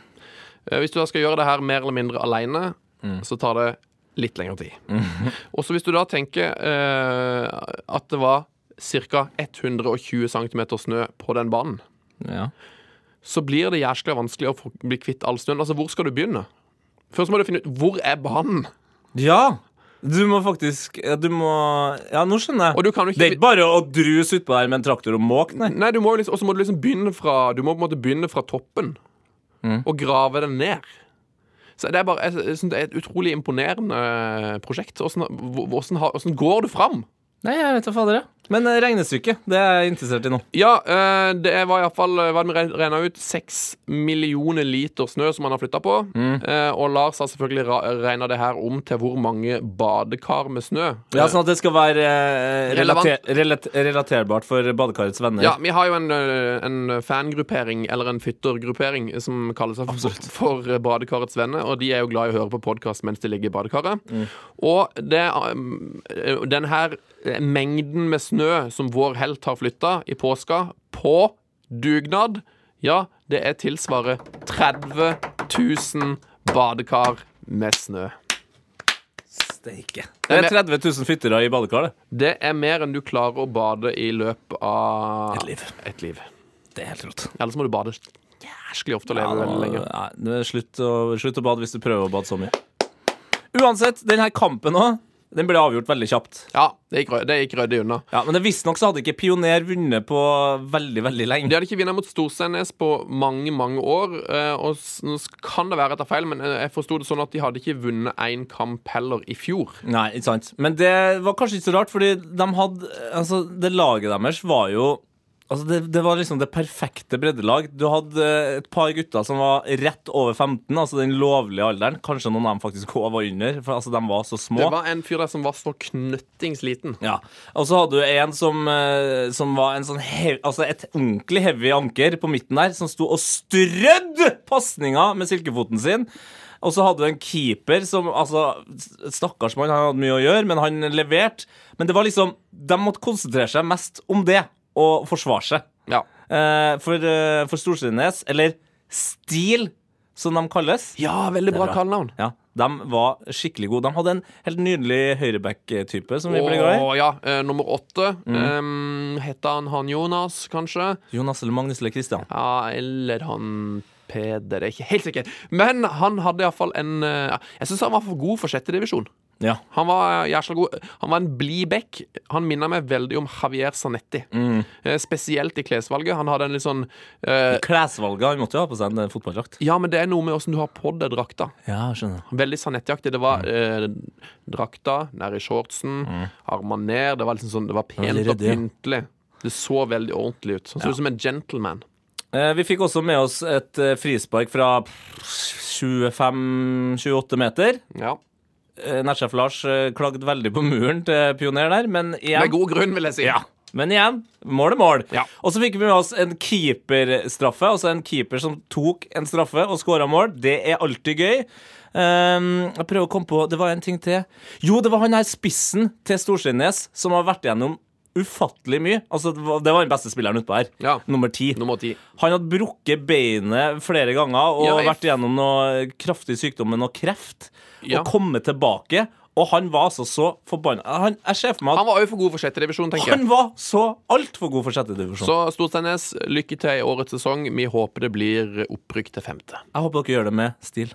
Speaker 1: Eh, Hvis du da skal gjøre det her mer eller mindre alene,
Speaker 2: Mm.
Speaker 1: så tar det litt lengre tid.
Speaker 2: Mhm.
Speaker 1: Og så hvis du da tenker eh, at det var ca. 120 cm snø på den banen,
Speaker 2: Ja.
Speaker 1: så blir det jæskla vanskelig å få- bli kvitt all snøen. Altså, hvor skal du begynne? Først må du finne ut hvor er banen.
Speaker 2: Ja! Du må faktisk ja, Du må Ja, nå skjønner jeg.
Speaker 1: Og du kan jo ikke-
Speaker 2: Det er ikke bare å druse utpå der med en traktor og måke, nei.
Speaker 1: Nei, du må jo liksom, og så må du liksom begynne fra Du må på en måte begynne fra toppen og grave den ned. Så det er bare, jeg, jeg synes det er et utrolig imponerende eh, prosjekt. Hvordan, hvor- hvordan, har- hvordan går du fram?
Speaker 2: Nei, jeg vet da fader, jeg. Men eh, regnestykket, det er jeg interessert i nå.
Speaker 1: Ja, eh, det var iallfall hva vi regna ut, seks millioner liter snø som han har flytta på. Eh, Og Lars har selvfølgelig regna det her om til hvor mange badekar med snø.
Speaker 2: Ja, Sånn at det skal være eh,
Speaker 1: Relevant.
Speaker 2: relater, relat- relaterbart for badekarets venner.
Speaker 1: Ja, vi har jo en, eh, en fangruppering, eller en fyttergruppering, eh, som kaller seg for, for eh, Badekarets venner. Og de er jo glad i å høre på podkast mens de ligger i badekaret.
Speaker 2: Mm.
Speaker 1: Og det, um, den her eh, mengden med snø som vår helt har flytta i påska, på dugnad, ja, det er tilsvarer 30 000 badekar med snø.
Speaker 2: Steike. Det er 30 000 fyttere i badekar, det.
Speaker 1: Det er mer enn du klarer å bade i løpet av
Speaker 2: Et liv.
Speaker 1: Et liv.
Speaker 2: Det er helt rått.
Speaker 1: Ellers må du bade jæsklig ofte og leve veldig lenge.
Speaker 2: Nei, det er slutt, å, slutt å bade hvis du prøver å bade så mye. Uansett, den her kampen òg, den ble avgjort veldig kjapt.
Speaker 1: Ja, det gikk, rø- det gikk ryddig unna.
Speaker 2: Ja, Men det visstnok så hadde ikke Pioner vunnet på veldig, veldig
Speaker 1: De
Speaker 2: lenge.
Speaker 1: hadde ikke vunnet mot Storsteinnes på mange mange år. eh, Og s- nå s- kan det være at jeg tar feil, men eh, jeg forsto det sånn at de hadde ikke vunnet én kamp heller i fjor.
Speaker 2: Nei, ikke sant. Men det var kanskje ikke så rart, fordi de hadde Altså, det laget deres var jo Altså, det, det var liksom det perfekte breddelag. Du hadde eh, et par gutter som var rett over 15, altså den lovlige alderen. Kanskje noen av dem faktisk òg var under, for altså, de var så små.
Speaker 1: Det var en fyr der som var så knøttings liten.
Speaker 2: Ja, Og så hadde du en som, eh, som var en sånn hev, altså et ordentlig heavy anker på midten der, som sto og strødde pasninger med silkefoten sin. Og så hadde du en keeper som altså, Stakkars mann, han hadde mye å gjøre, men han leverte. Men det var liksom, de måtte konsentrere seg mest om det, og forsvare seg.
Speaker 1: Ja.
Speaker 2: Eh, for uh, for Storsteinnes, eller Stil, som de kalles,
Speaker 1: ja, veldig bra
Speaker 2: bra.
Speaker 1: kallenavn.
Speaker 2: ja, de var skikkelig gode. De hadde en helt nydelig høyreback-type som vi ble glad i.
Speaker 1: Og ja, eh, nummer åtte. Mm. Hette han han Jonas, kanskje?
Speaker 2: Jonas eller Magnus eller Christian?
Speaker 1: Ja, eller han Peder, jeg er ikke helt sikker. Men han hadde iallfall en eh, Jeg syns han var for god for sjette divisjon.
Speaker 2: Ja.
Speaker 1: Han var eh, jævla god. Han var en blid back. Han minner meg veldig om Javier Zanetti.
Speaker 2: Mm.
Speaker 1: Eh, Spesielt i klesvalget. Han hadde en litt sånn eh,
Speaker 2: Klesvalget. Han måtte jo ha på seg en eh, fotballdrakt.
Speaker 1: Ja, men det er noe med åssen du har på deg drakta.
Speaker 2: Ja, skjønner.
Speaker 1: Veldig Zanetti-aktig. Det var eh, drakta nede i shortsen, armene ned. Det var liksom sånn, det var
Speaker 2: Veldig
Speaker 1: pent og
Speaker 2: ryddig, Mm. ja.
Speaker 1: pyntelig. Det så veldig ordentlig ut. Han så ut som en gentleman.
Speaker 2: Vi fikk også med oss eh, et eh, frispark fra 25-28 meter.
Speaker 1: Ja.
Speaker 2: eh, Nettsjef Lars eh, klagde veldig på muren til Pioner der, men igjen
Speaker 1: Med god grunn, vil jeg si.
Speaker 2: Ja. Men igjen, mål er mål.
Speaker 1: Ja.
Speaker 2: Og så fikk vi med oss en keeperstraffe. Altså en keeper som tok en straffe og skåra mål. Det er alltid gøy. Ehm, jeg prøver å komme på Det var en ting til. Jo, det var han her spissen til Storsteinnes som har vært gjennom ufattelig mye. Altså, det var- det var den beste spilleren utpå her.
Speaker 1: Ja.
Speaker 2: Nummer ti.
Speaker 1: Nummer ti.
Speaker 2: Han hadde brukket beinet flere ganger og
Speaker 1: Ja, jeg-
Speaker 2: vært gjennom noe kraftig sykdom med noe kreft.
Speaker 1: Ja.
Speaker 2: Og kommet tilbake. Og han var altså så forbanna. Han- Jeg ser for meg at
Speaker 1: Han var òg for god for sjette divisjon, tenker jeg.
Speaker 2: han var så altfor god for sjette divisjon.
Speaker 1: Så Storsteinnes, lykke til i årets sesong. Vi håper det blir opprykk til femte.
Speaker 2: Jeg håper dere gjør det med stil.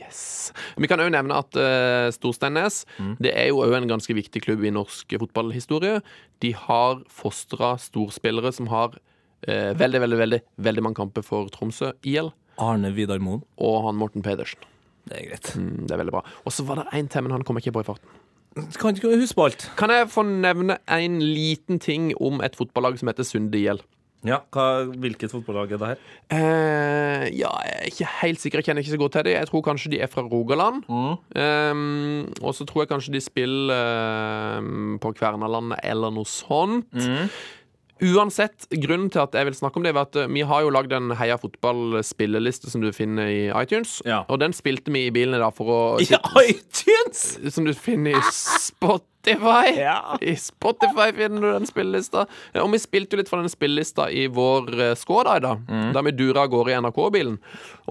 Speaker 1: Yes. Vi kan òg nevne at eh, Storsteinnes det er jo òg en ganske viktig klubb i norsk fotballhistorie. De har fostra storspillere som har eh, veldig, veldig, veldig veldig mange kamper for Tromsø IL,
Speaker 2: Arne Vidar Moen.
Speaker 1: og han Morten Pedersen.
Speaker 2: Det er greit.
Speaker 1: Mm, det er veldig bra. Og så var det én til, men han kom ikke på i farten.
Speaker 2: Kan ikke huske på alt.
Speaker 1: Kan jeg få nevne en liten ting om et fotballag som heter Sunde IL?
Speaker 2: Ja, Hvilket fotballag er det her?
Speaker 1: Eh, ja, jeg er ikke helt sikker. Jeg kjenner ikke så godt til dem. Jeg tror kanskje de er fra Rogaland. Eh, og så tror jeg kanskje de spiller eh, på Kvernalandet eller noe sånt. Uansett, grunnen til at jeg vil snakke om det, var at eh, vi har jo lagd en Heia fotball-spilleliste som du finner i iTunes.
Speaker 2: Ja.
Speaker 1: Og den spilte vi i bilen i dag for å
Speaker 2: I iTunes!
Speaker 1: Som du finner i Spotify.
Speaker 2: Ja.
Speaker 1: I Spotify finner du den spillelista. Og vi spilte jo litt fra den spillelista i vår eh, Skoda i dag,
Speaker 2: Mm.
Speaker 1: da vi dura av gårde i NRK-bilen.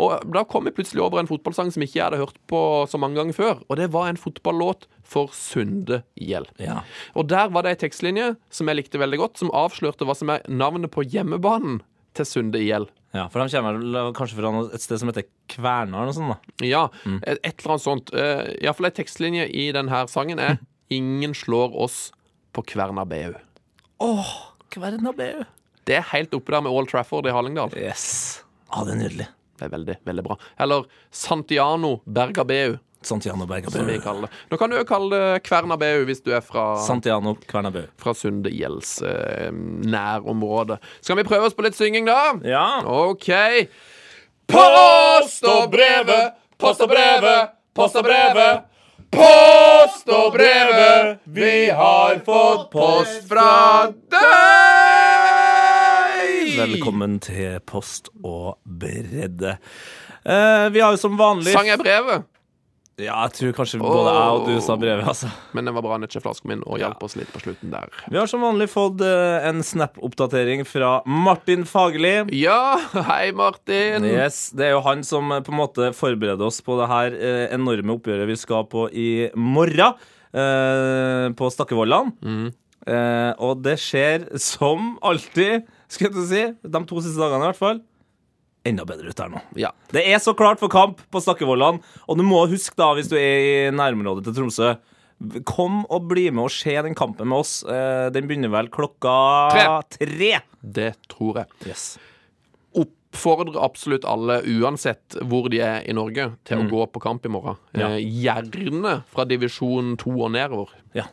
Speaker 1: Og da kom vi plutselig over en fotballsang som ikke jeg hadde hørt på så mange ganger før, og det var en fotballåt for Sunde IL.
Speaker 2: Ja.
Speaker 1: Og der var det ei tekstlinje som jeg likte veldig godt, som avslørte hva som er navnet på hjemmebanen til Sunde IL.
Speaker 2: ja, For de kommer vel eh, kanskje fra noe- et sted som heter Kverna eller noe sånt? da
Speaker 1: Ja, et et eller annet sånt. Eh, i hvert fall ei tekstlinje i denne sangen er 'Ingen slår oss på Kvernabeu'.
Speaker 2: Åh, Kvernabeu.
Speaker 1: Det er helt oppe der med Old Trafford i Hallingdal.
Speaker 2: Yes. Ah, det er nydelig.
Speaker 1: Det er veldig, veldig bra. Eller Santiano Bergabeu,
Speaker 2: Santiano
Speaker 1: som vi
Speaker 2: Bergabeu.
Speaker 1: kaller det. Nå kan du jo kalle det Kvernabeu hvis du er fra,
Speaker 2: Santiano Kvernabeu.
Speaker 1: fra Sunde ILs eh, nærområde. Skal vi prøve oss på litt synging, da?
Speaker 2: Ja.
Speaker 1: OK. Post og brevet, post og brevet, post og brevet. Post og brevet, vi har fått post fra deg!
Speaker 2: Velkommen til Post og bredde. Eh, vi har jo som vanlig
Speaker 1: Sang jeg brevet?
Speaker 2: Ja, jeg tror kanskje både jeg og du sa brevet, altså.
Speaker 1: Men det var bra nøttjeflasken min og hjalp oss litt på slutten der.
Speaker 2: Vi har som vanlig fått eh, en Snap-oppdatering fra Martin Fagerli.
Speaker 1: Ja, hei, Martin.
Speaker 2: Yes, Det er jo han som eh, på en måte forbereder oss på det her eh, enorme oppgjøret vi skal på i morgen. eh, på Stakkevollan.
Speaker 1: Mm.
Speaker 2: Eh, og det skjer som alltid, skal jeg til å si. De to siste dagene i hvert fall. Enda bedre ut der nå.
Speaker 1: Ja.
Speaker 2: Det er så klart for kamp på Stakkevollan, og du må huske da, hvis du er i nærområdet til Tromsø Kom og bli med og se den kampen med oss. Eh, Den begynner vel klokka tre.
Speaker 1: Det tror jeg.
Speaker 2: Yes.
Speaker 1: oppfordrer absolutt alle, uansett hvor de er i Norge, til å gå på kamp i morgen.
Speaker 2: Mm. Ja.
Speaker 1: Eh, gjerne fra divisjon to og nedover.
Speaker 2: Ja.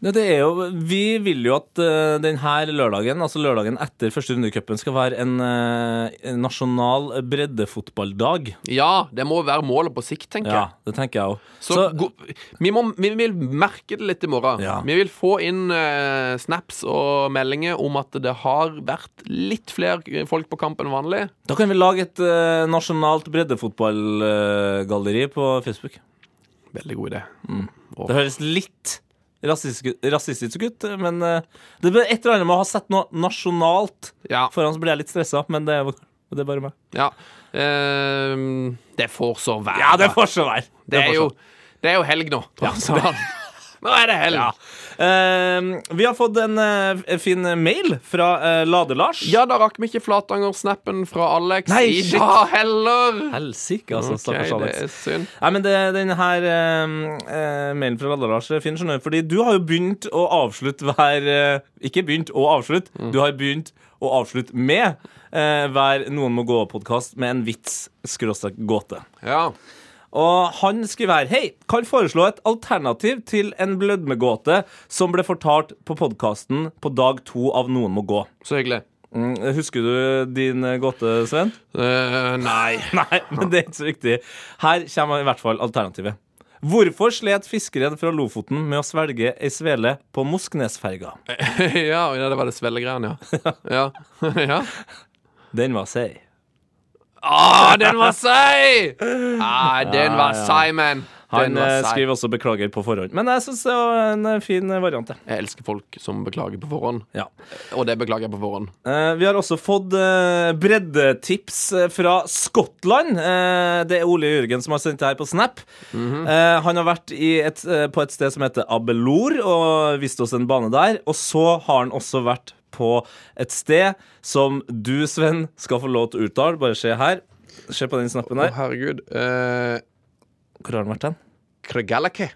Speaker 2: Ja, det er jo, vi vil jo at eh, denne lørdagen, altså lørdagen etter første runde i cupen, skal være en, eh, en nasjonal breddefotballdag.
Speaker 1: Ja, det må være målet på sikt, tenker
Speaker 2: Ja,
Speaker 1: jeg.
Speaker 2: det tenker jeg òg.
Speaker 1: Så, gå- vi, må, vi vil merke det litt i morgen.
Speaker 2: Ja.
Speaker 1: Vi vil få inn eh, snaps og meldinger om at det har vært litt flere folk på kamp enn vanlig.
Speaker 2: da kan vi lage et eh, nasjonalt breddefotballgalleri på Facebook.
Speaker 1: Veldig god idé.
Speaker 2: Det høres litt rasistisk, rasistisk ut, men eh, det er et eller annet med å ha sett noe nasjonalt
Speaker 1: Ja.
Speaker 2: foran, så blir jeg litt stressa, men det, er- det er bare meg.
Speaker 1: ja. Eh, det får så være.
Speaker 2: får så være.
Speaker 1: Det er jo, det er jo helg nå. Nå er det helg. Ja.
Speaker 2: Eh, vi har fått en eh, fin mail fra eh, Lade-Lars.
Speaker 1: Ja, da rakk vi ikke Flatanger-snappen fra Alex
Speaker 2: Nei,
Speaker 1: i
Speaker 2: shit.
Speaker 1: dag heller.
Speaker 2: Helsike, altså.
Speaker 1: Ok,
Speaker 2: Stakkars
Speaker 1: det
Speaker 2: Alex.
Speaker 1: er synd.
Speaker 2: Nei, men det, den her eh, eh, mailen fra Lade-Lars er fin, skjønner du. Fordi du har jo begynt å avslutte hver eh, Ikke begynt å avslutte, du har begynt å avslutte med eh, hver Noen må gå-podkast med en vits skråstrek gåte.
Speaker 1: Ja.
Speaker 2: Og han skriver her Hei, kan foreslå et alternativ til en blødmegåte som ble fortalt på podkasten på dag to av Noen må gå.
Speaker 1: Så hyggelig.
Speaker 2: Mm, Husker du din eh, gåte, Sven?
Speaker 1: Eh, nei.
Speaker 2: Nei, men det er ikke så viktig. Her kommer i hvert fall alternativet. Hvorfor slet fiskeren fra Lofoten med å svelge ei svele på Mosknesferga?
Speaker 1: ja, ja, det var det svellegreiene, ja. ja. ja.
Speaker 2: Den var seig.
Speaker 1: Ah, den var seig! Ah, den var seig, man. Den
Speaker 2: Han eh,
Speaker 1: var seig.
Speaker 2: skriver også 'beklager' på forhånd. Men jeg syns det var en eh, fin eh, variant. det.
Speaker 1: Jeg elsker folk som beklager på forhånd.
Speaker 2: Ja.
Speaker 1: Og det beklager jeg på forhånd.
Speaker 2: Eh, Vi har også fått eh, breddetips eh, fra Skottland. Eh, Det er Ole Jørgen som har sendt det her på Snap. Eh, Han har vært i et, eh, på et sted som heter Abelor, og viste oss en bane der. Og så har han også vært på et sted som du, Sven, skal få lov til å uttale. Bare se her. Se på den snappen
Speaker 1: Å,
Speaker 2: her.
Speaker 1: herregud. Eh,
Speaker 2: Hvor har han vært hen?
Speaker 1: Kregalake.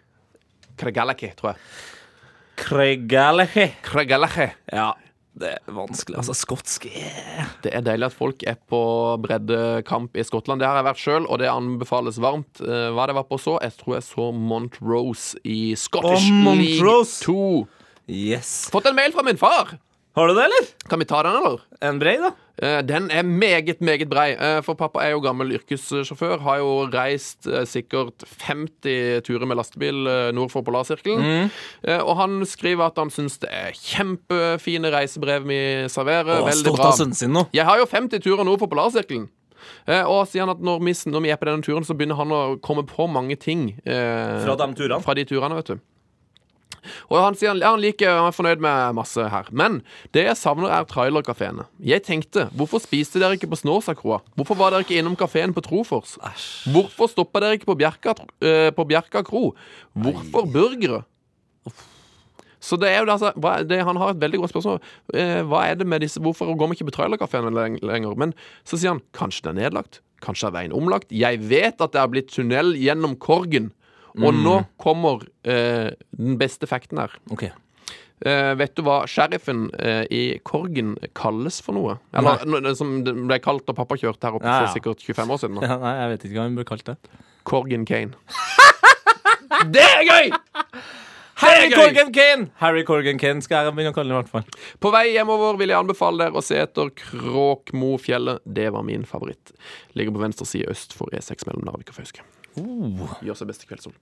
Speaker 1: Kregalake, tror jeg.
Speaker 2: Craigallaghy.
Speaker 1: Kregalake.
Speaker 2: Ja, det er vanskelig. Altså, skotsk er
Speaker 1: Det er deilig at folk er på breddekamp i Skottland. Det har jeg vært sjøl, og det anbefales varmt. Eh, hva det var på så? Jeg tror jeg så Montrose i Scottish
Speaker 2: Å, Montrose!
Speaker 1: League 2.
Speaker 2: Yes.
Speaker 1: Fått en mail fra min far!
Speaker 2: Har du det, eller?
Speaker 1: Kan vi ta den, eller?
Speaker 2: En brei, da?
Speaker 1: Eh, Den er meget, meget brei. Eh, For pappa er jo gammel yrkessjåfør. Har jo reist eh, sikkert 50 turer med lastebil eh, nord for
Speaker 2: Mm.
Speaker 1: polarsirkelen. Eh, Og han skriver at han syns det er kjempefine reisebrev vi serverer.
Speaker 2: Å, altså,
Speaker 1: Veldig
Speaker 2: Stolt
Speaker 1: bra.
Speaker 2: av sønnen sin nå.
Speaker 1: Jeg har jo 50 turer nord for polarsirkelen. Eh, Og sier han at når vi, når vi er på denne turen, så begynner han å komme på mange ting. eh,
Speaker 2: Fra de turene.
Speaker 1: Fra de turene, vet du. Og han sier han, ja, han liker han er fornøyd med masse her. Men det jeg savner, er trailerkafeene. Jeg tenkte, hvorfor spiste dere ikke på Snåsakroa? Hvorfor var dere ikke innom kafeen på Trofors? Hvorfor stoppa dere ikke på Bjerka, eh, på Bjerka kro? Hvorfor burgere? Så det er jo det, altså, hva, det, Han har et veldig godt spørsmål. Eh, hva er det med disse, Hvorfor går vi ikke på trailerkafeene leng lenger? Men så sier han kanskje den er nedlagt. Kanskje er veien omlagt. Jeg vet at det har blitt tunnel gjennom Korgen. Og
Speaker 2: Mm.
Speaker 1: nå kommer eh, den beste fakten her.
Speaker 2: Ok.
Speaker 1: Eh, vet du hva sheriffen eh, i Korgen kalles for noe? Eller no, det som det ble kalt da pappa kjørte her oppe
Speaker 2: Ja, ja.
Speaker 1: for sikkert 25 år siden. nå.
Speaker 2: Ja, nei, jeg vet ikke hva han ble kalt det.
Speaker 1: Korgen Kane. Det er gøy!
Speaker 2: Harry
Speaker 1: gøy!
Speaker 2: Corgan Kane! Harry Corgan Kane skal jeg begynne å kalle ham i hvert fall.
Speaker 1: På vei hjemover vil jeg anbefale dere å se etter Kråkmofjellet. Det var min favoritt. Ligger på venstre side øst for E6 mellom Narvik og Fauske.
Speaker 2: Oh.
Speaker 1: Gjør seg best i kveldssol.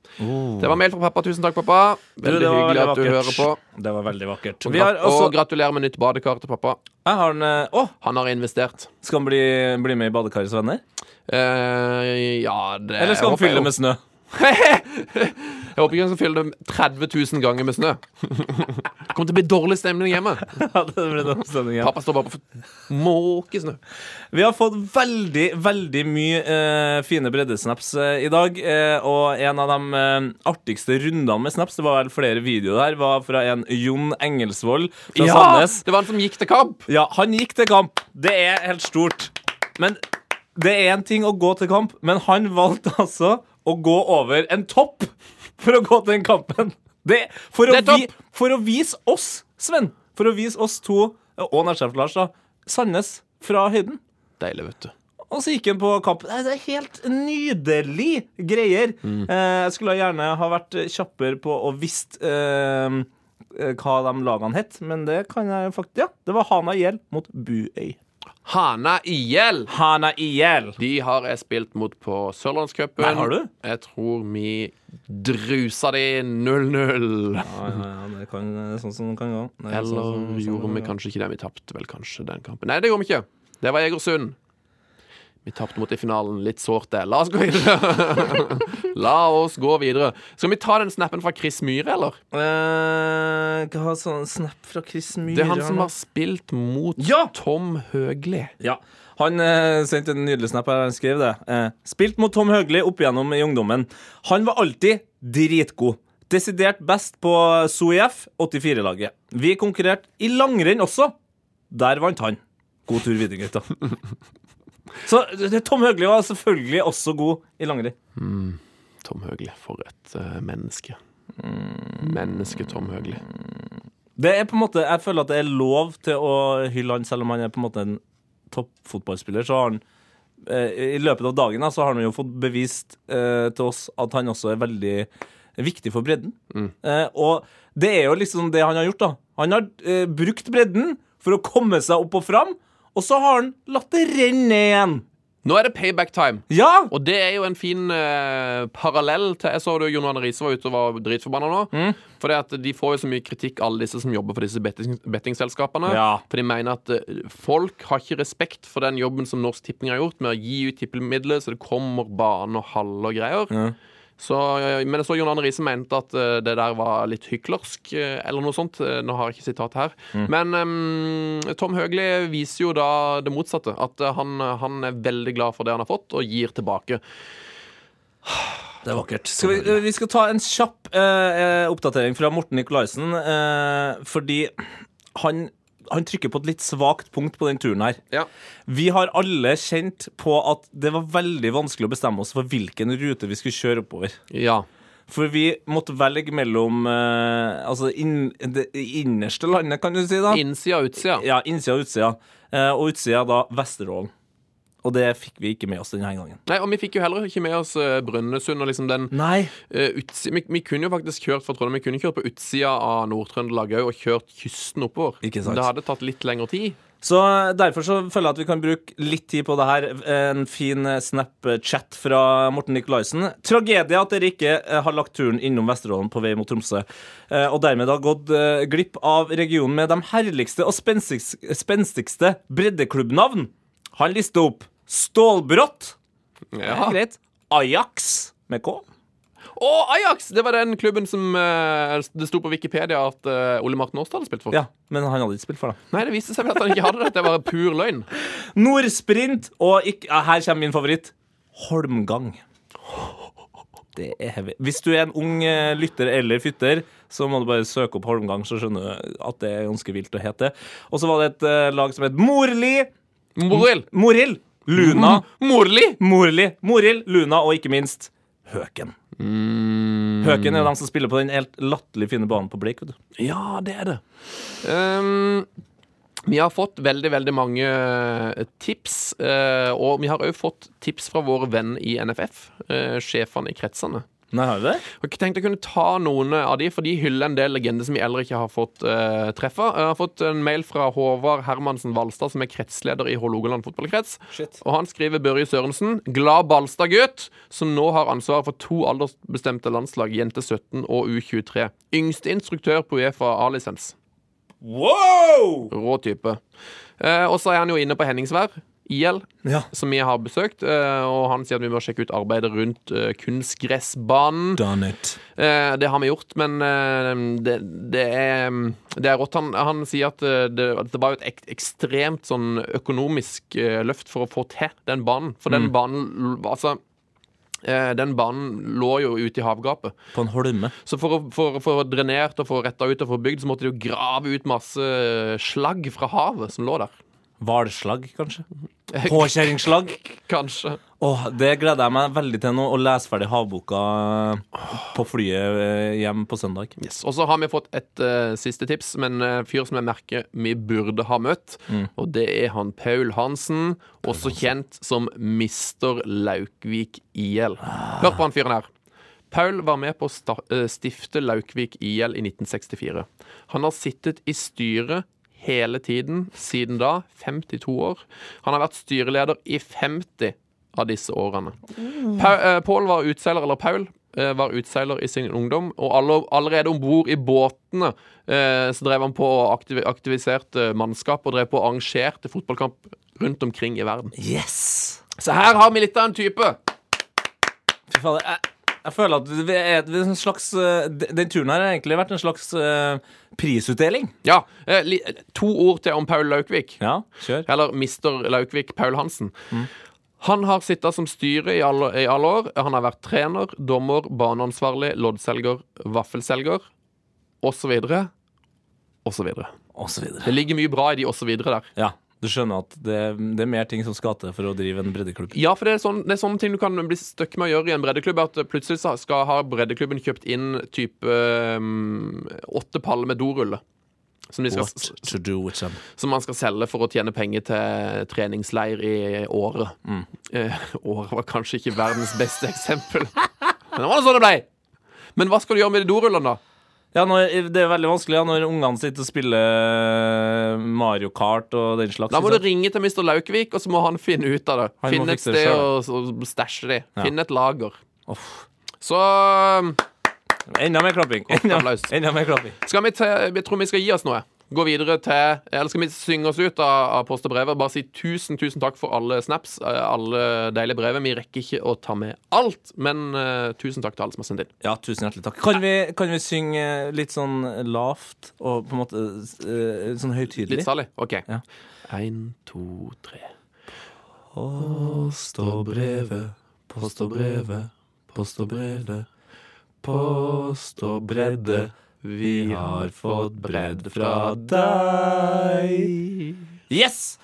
Speaker 1: Det var mail fra pappa. Tusen takk, pappa. Veldig
Speaker 2: det var
Speaker 1: hyggelig at
Speaker 2: veldig
Speaker 1: du
Speaker 2: vakkert.
Speaker 1: hører på.
Speaker 2: Det var veldig vakkert.
Speaker 1: Og,
Speaker 2: Vi har
Speaker 1: grat-
Speaker 2: også,
Speaker 1: og gratulerer med nytt badekar til pappa.
Speaker 2: jeg har en, eh, å,
Speaker 1: Han har investert.
Speaker 2: skal han bli, bli med i Badekarets venner?
Speaker 1: Eh, ja, det
Speaker 2: Eller skal han
Speaker 1: håper jeg jo.
Speaker 2: fylle med snø?
Speaker 1: Jeg håper ikke han skal fylle det 30 000 ganger med snø. Det kommer til å bli dårlig stemning hjemme.
Speaker 2: Ja, det blir den stemningen.
Speaker 1: Pappa står bare på måkesnø.
Speaker 2: Vi har fått veldig, veldig mye eh, fine breddesnaps eh, i dag. eh, og en av de eh, artigste rundene med snaps, det var vel flere videoer der, var fra en Jon Engelsvold fra Sandnes.
Speaker 1: Det var han som gikk til kamp.
Speaker 2: Ja, han gikk til kamp. Det er helt stort. Men det er en ting å gå til kamp, men han valgte altså å gå over en topp for å gå til den kampen. Det, for, å
Speaker 1: Det er
Speaker 2: vi, for å vise oss, Sven, for å vise oss to, eh, og nærsjef Lars, da, Sandnes fra høyden.
Speaker 1: Deilig, vet du.
Speaker 2: Og så gikk han på kamp. Nei, Det er helt nydelig greier. Eh, jeg skulle gjerne ha vært kjappere på å visst eh, hva de lagene het, men det kan jeg faktisk Ja, det var Hana IL mot Buøy.
Speaker 1: Hana IL.
Speaker 2: Hana IL.
Speaker 1: De har jeg spilt mot på Sørlandscupen.
Speaker 2: Nei, har du?
Speaker 1: Jeg tror vi drusa de 0-0.
Speaker 2: Ja, ja, ja, det kan, det er sånn som det kan gå. Det er
Speaker 1: Eller
Speaker 2: sånn som- sånn
Speaker 1: gjorde
Speaker 2: som
Speaker 1: vi
Speaker 2: det kan gå.
Speaker 1: kanskje ikke det? Vi tapte vel kanskje den kampen. Nei, det gjorde vi ikke. Det var Egersund. Vi tapte mot i finalen. Litt sårt, det. La oss gå videre. La oss gå videre. Skal vi ta den snappen fra Chris Myhre, eller?
Speaker 2: Eh, Hva har sånn snap fra Chris Myhre?
Speaker 1: Det er han som
Speaker 2: nå?
Speaker 1: har spilt mot
Speaker 2: Ja!
Speaker 1: Tom Høgli.
Speaker 2: Ja. Han eh, sendte en nydelig snap her. Han skrev det. Eh, spilt mot Tom Høgli opp igjennom i ungdommen. Han var alltid dritgod. Desidert best på SOIF 84-laget. Vi konkurrerte i langrenn også. Der vant han. God tur videre, gutta. Så det- Tom Høgli var selvfølgelig også god i langrenn.
Speaker 1: Tom Høgli, for et eh, menneske.
Speaker 2: Mm.
Speaker 1: Menneske Tom Høgli.
Speaker 2: Det er på en måte, Jeg føler at det er lov til å hylle han, selv om han er på en måte en toppfotballspiller. Så har han eh, I løpet av dagen da, så har han jo fått bevist eh, til oss at han også er veldig viktig for bredden. Eh, og det er jo liksom det han har gjort. da. Han har eh, brukt bredden for å komme seg opp og fram, og så har han latt det renne igjen.
Speaker 1: Nå er det payback time.
Speaker 2: Ja!
Speaker 1: Og det er jo en fin eh, parallell til Jeg så det jo Jon Arne Riise var ute og var dritforbanna nå. For det at de får jo så mye kritikk, alle disse som jobber for disse betting, bettingselskapene.
Speaker 2: Ja.
Speaker 1: For de mener at eh, folk har ikke respekt for den jobben som Norsk Tipping har gjort med å gi ut tippemidler, så det kommer bane og hall og greier. Så, eh, men jeg så Jon Arne Riise mente at eh, det der var litt hyklersk, eh, eller noe sånt. Eh, Nå har jeg ikke sitat her.
Speaker 2: Mm.
Speaker 1: Men eh, Tom Høgli viser jo da det motsatte. At eh, han, han er veldig glad for det han har fått, og gir tilbake.
Speaker 2: Det er vakkert. Skal vi, eh, vi skal ta en kjapp eh, eh, oppdatering fra Morten Nikolaisen, eh, fordi han, han trykker på et litt svakt punkt på den turen her.
Speaker 1: Ja.
Speaker 2: Vi har alle kjent på at det var veldig vanskelig å bestemme oss for hvilken rute vi skulle kjøre oppover.
Speaker 1: Ja.
Speaker 2: For vi måtte velge mellom eh, altså inn, det innerste landet, kan du si da.
Speaker 1: Innsida og utsida.
Speaker 2: Ja, innsida og utsida. Eh, og utsida da Vesterålen. Og det fikk vi ikke med oss denne gangen.
Speaker 1: Nei, og vi fikk jo heller ikke med oss eh, Brønnøysund og liksom den
Speaker 2: Nei.
Speaker 1: eh, utsi... Vi, vi kunne jo faktisk kjørt fra Trondheim, vi kunne kjørt på utsida av Nord-Trøndelag òg, og kjørt kysten oppover.
Speaker 2: Ikke sant.
Speaker 1: Det hadde tatt litt lengre tid.
Speaker 2: Så eh, derfor så føler jeg at vi kan bruke litt tid på det her. Eh, En fin Snapchat fra Morten Nikolaisen. Tragedie at dere ikke eh, har lagt turen innom Vesterålen på vei mot Tromsø, eh, og dermed har gått eh, glipp av regionen med de herligste og spenstigs- spenstigste breddeklubbnavn. Han lister opp Stålbrått.
Speaker 1: Ja.
Speaker 2: Greit. Ajax med K.
Speaker 1: Og Ajax! Det var den klubben som eh, det sto på Wikipedia at eh, Ole Martin Aastad hadde spilt for.
Speaker 2: Ja, men han hadde ikke spilt for det.
Speaker 1: Nei, det viste seg vel at han ikke hadde det. Det var pur løgn.
Speaker 2: Nordsprint og ikk- ja, Her kommer min favoritt. Holmgang. Det er heavy. Hvis du er en ung eh, lytter eller fytter, så må du bare søke opp Holmgang, så skjønner du at det er ganske vilt å hete. Og så var det et eh, lag som het Morli.
Speaker 1: Morill.
Speaker 2: Morild. Luna.
Speaker 1: Morli!
Speaker 2: Morli. Morild, Luna og ikke minst Høken. Høken er jo de som spiller på den helt latterlig fine banen på Bleik. vet du.
Speaker 1: Ja, det er det. Ehm, vi har fått veldig, veldig mange eh, tips. eh, og vi har òg fått tips fra våre venn i NFF, eh, sjefene i kretsene.
Speaker 2: Nei, har vi det?
Speaker 1: Og Jeg tenkte jeg kunne ta noen eh, av de, for de hyller en del legender som vi ellers ikke har fått uh, treffe. Jeg har fått en mail fra Håvard Hermansen Valstad, som er kretsleder i Hålogaland fotballkrets. Og han skriver Børje Sørensen, glad Balstad-gutt, som nå har ansvaret for to aldersbestemte landslag, jente 17 og U23. Yngste instruktør på Uefa A-lisens.
Speaker 2: Wow!
Speaker 1: Rå type. Eh, og så er han jo inne på Henningsvær, IL,
Speaker 2: Ja.
Speaker 1: som vi har besøkt. eh, og han sier at vi bør sjekke ut arbeidet rundt eh, kunstgressbanen.
Speaker 2: Done it.
Speaker 1: Eh, det har vi gjort, men eh, det, det, er, mm, det er rått. Han, han sier at eh, det, at det var jo et ek ekstremt sånn økonomisk eh, løft for å få til den banen. For den banen l- Altså, eh, den banen lå jo ute i havgapet.
Speaker 2: På en holme.
Speaker 1: Så for å for, for å drenert og få retta ut og få bygd, så måtte de jo grave ut masse eh, slagg fra havet som lå der.
Speaker 2: Hvalslag, kanskje? Påkjerringslag?
Speaker 1: Kanskje.
Speaker 2: Åh, det gleder jeg meg veldig til nå, å lese ferdig havboka på flyet eh, hjem på søndag.
Speaker 1: Yes. Og så har vi fått et eh, siste tips med en eh, fyr som jeg merker vi burde ha møtt. Og det er han Mm. Paul Hansen, også kjent som Mister Laukvik IL. Hør på han fyren her. Paul var med på å sta eh, stifte Laukvik IL i 1964. Han har sittet i styret hele tiden siden da, 52 år. Han har vært styreleder i 50 av disse årene. Pa eh, Paul var utseiler, eller Paul eh, var utseiler i sin ungdom, og alle, allerede om bord i båtene eh, så drev han på og aktiv aktiviserte mannskap og drev på og arrangerte fotballkamp rundt omkring i verden.
Speaker 2: Yes!
Speaker 1: Så her har vi litt av en type!
Speaker 2: Fy fader, jeg, jeg føler at vi er, vi er en slags eh, de- Den turen her har egentlig vært en slags eh, prisutdeling.
Speaker 1: Ja, eh, li To ord til om Paul Laukvik.
Speaker 2: Ja, kjør.
Speaker 1: Eller mister Laukvik Paul Hansen. Han har sittet som styre i alle, i alle år. Han har vært trener, dommer, baneansvarlig, loddselger, vaffelselger osv. osv.
Speaker 2: Og så videre.
Speaker 1: Det ligger mye bra i de osv. der.
Speaker 2: Ja, du skjønner at det, det er mer ting som skal til for å drive en breddeklubb.
Speaker 1: Ja, for det er, sånn, det er sånne ting du kan bli støkk med å gjøre i en breddeklubb. At plutselig så skal ha breddeklubben kjøpt inn type øhm, åtte paller med dorulle. Som, de skal,
Speaker 2: What to do with them.
Speaker 1: som man skal selge for å tjene penger til treningsleir i året.
Speaker 2: Mm.
Speaker 1: Eh, året var kanskje ikke verdens beste eksempel. Men det var nå sånn det blei. Men hva skal du gjøre med de dorullene, da?
Speaker 2: Ja, når, det er veldig vanskelig ja, når ungene sitter og spiller Mario Kart og den slags.
Speaker 1: Da må du
Speaker 2: ikke sant?
Speaker 1: ringe til Mr. Laukvik, og så må han finne ut av det.
Speaker 2: Han må
Speaker 1: finne et
Speaker 2: fikse det
Speaker 1: sted å
Speaker 2: selv.
Speaker 1: å stæsje de.
Speaker 2: Ja.
Speaker 1: Finne et lager.
Speaker 2: Uff.
Speaker 1: Så
Speaker 2: Enda mer klapping. Enda,
Speaker 1: applaus.
Speaker 2: enda mer klapping.
Speaker 1: skal vi til Jeg tror vi skal gi oss noe. Gå videre til Eller skal vi synge oss ut av, av post og brev? og Bare si tusen, tusen takk for alle snaps, eh, alle deilige brev. Vi rekker ikke å ta med alt, men eh, tusen takk til alle som har sendt inn.
Speaker 2: Ja, tusen hjertelig takk. Kan vi, kan vi synge litt sånn lavt og på en måte eh, sånn høytidelig?
Speaker 1: Litt salig? OK.
Speaker 2: Ja.
Speaker 1: Én, to, tre.
Speaker 2: Post og brevet, post og brevet, post og brevet. Post og bredde, vi har fått bredd fra deg. Yes!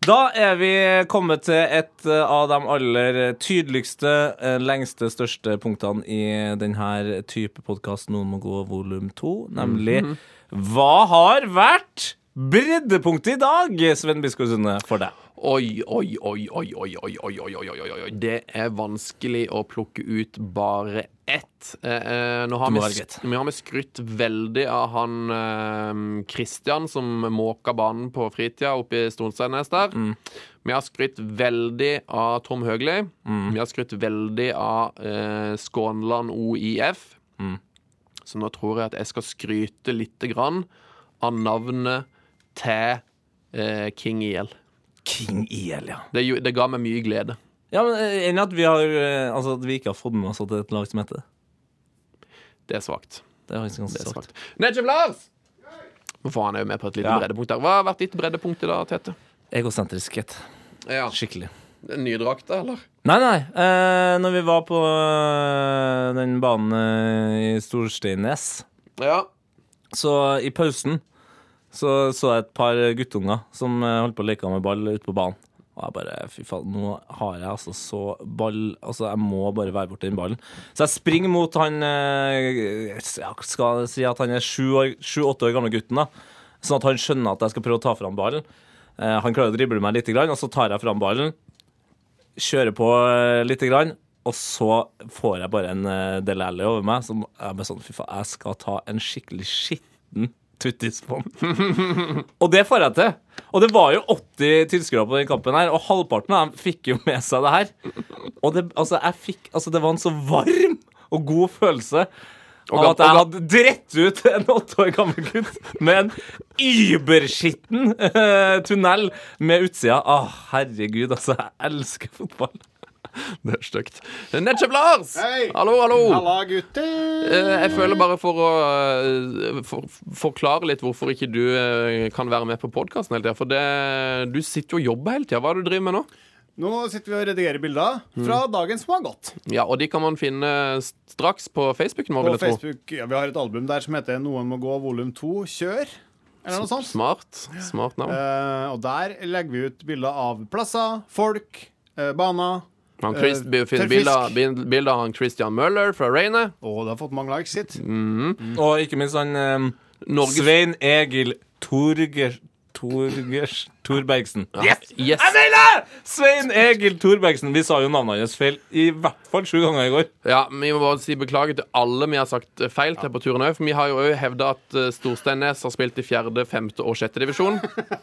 Speaker 2: Da er vi kommet til et eh, av de aller tydeligste, eh, lengste, største punktene i denne type podkast Noen må gå volum to, nemlig Hva har vært breddepunktet i dag, Sven Biskår Sunde, for deg?
Speaker 1: Oi, oi, oi, oi, oi, oi, oi, oi, oi, oi, oi, oi. Det er vanskelig å plukke ut bare ett. Eh, eh, nå har
Speaker 2: Du må
Speaker 1: vi,
Speaker 2: velge
Speaker 1: sk- vi har vi skrytt veldig av han eh, Christian som måka banen på fritida oppe i Stonsendnes der.
Speaker 2: Mm.
Speaker 1: Vi har skrytt veldig av Tom Høgli.
Speaker 2: Mm.
Speaker 1: Vi har skrytt veldig av eh, Skånland OIF.
Speaker 2: Mm.
Speaker 1: Så nå tror jeg at jeg skal skryte lite grann av navnet til eh, King IL.
Speaker 2: King IL, ja.
Speaker 1: Det, gjo- det ga meg mye glede.
Speaker 2: Ja, men eh, Enn at vi, har, eh, altså, at vi ikke har fått med oss at det er et lag som heter det.
Speaker 1: Det er svakt.
Speaker 2: Det er faktisk
Speaker 1: Det
Speaker 2: ganske
Speaker 1: er
Speaker 2: svakt.
Speaker 1: svakt. Nedjev Lars! Nå får han jo med på et lite
Speaker 2: Ja.
Speaker 1: breddepunkt der. Hva har vært ditt breddepunkt i dag, Tete?
Speaker 2: Egosentriskhet.
Speaker 1: Ja.
Speaker 2: Skikkelig.
Speaker 1: Nye drakter, eller?
Speaker 2: Nei, nei. Eh, når vi var på eh, den banen eh, i Storsteinnes,
Speaker 1: Ja.
Speaker 2: så i pausen så så jeg et par guttunger som eh, holdt på å leke med ball ute på banen. Og jeg bare Fy faen, nå har jeg altså så ball Altså, jeg må bare være borti den ballen. Så jeg springer mot han eh, Jeg skal si at han er sju-åtte år gamle gutten, da. Sånn at han skjønner at jeg skal prøve å ta fram ballen. Eh, Han klarer å drible meg litt, og så tar jeg fram ballen, kjører på litt, og så får jeg bare en eh, Del Alli over meg. Som er bare sånn, fy faen, jeg skal ta en skikkelig skitten tuttis på den. og det får jeg til. Og det var jo 80 tilskuere på den kampen her, og halvparten av dem fikk jo med seg det her. Og det, altså, jeg fikk, altså, det var en så varm og god følelse. Og
Speaker 1: gam-
Speaker 2: at jeg hadde drett ut en åtte år gammel gutt med en überskitten eh, tunnel med utsida. Å, herregud, altså. Jeg elsker fotball.
Speaker 1: Det er stygt. Nedjev Lars!
Speaker 3: Hei!
Speaker 1: Hallo, hallo!
Speaker 3: Halla, gutter!
Speaker 1: Oh. Eh, Jeg føler bare for å eh, for, forklare litt hvorfor ikke du eh, kan være med på podkasten hele tida. For det, du sitter jo og jobber hele tida. Hva er det du driver med nå?
Speaker 3: Nå sitter vi og redigerer bilder
Speaker 1: Mm.
Speaker 3: fra dagen som har gått.
Speaker 1: Ja, Og de kan man finne straks på Facebooken vår,
Speaker 3: På
Speaker 1: vil jeg tro.
Speaker 3: Facebook, ja, Vi har et album der som heter 'Noen må gå volum 2 kjør'. Eller noe sånt.
Speaker 1: Smart. Smart navn.
Speaker 3: Eh, og der legger vi ut bilder av plasser, folk, eh, baner.
Speaker 1: Han Chris,
Speaker 3: Eh,
Speaker 1: vi finner
Speaker 3: tørrfisk.
Speaker 1: bilder, bild- bilder av han Christian Møller fra Reine.
Speaker 3: Og det har fått mange likes, sitt.
Speaker 2: Og ikke minst han eh,
Speaker 1: Norges-
Speaker 2: Svein Egil Torger... Torgers Torbergsen. Yes!
Speaker 1: Yes.
Speaker 2: Jeg nailer! Svein Egil Torbergsen. Vi sa jo navnet hans feil i hvert fall sju ganger i går.
Speaker 1: Ja, Vi må bare si beklager til alle vi har sagt eh, feil til på turen òg. For vi har jo òg hevda at eh, Storsteinnes har spilt i fjerde, femte og sjette divisjon.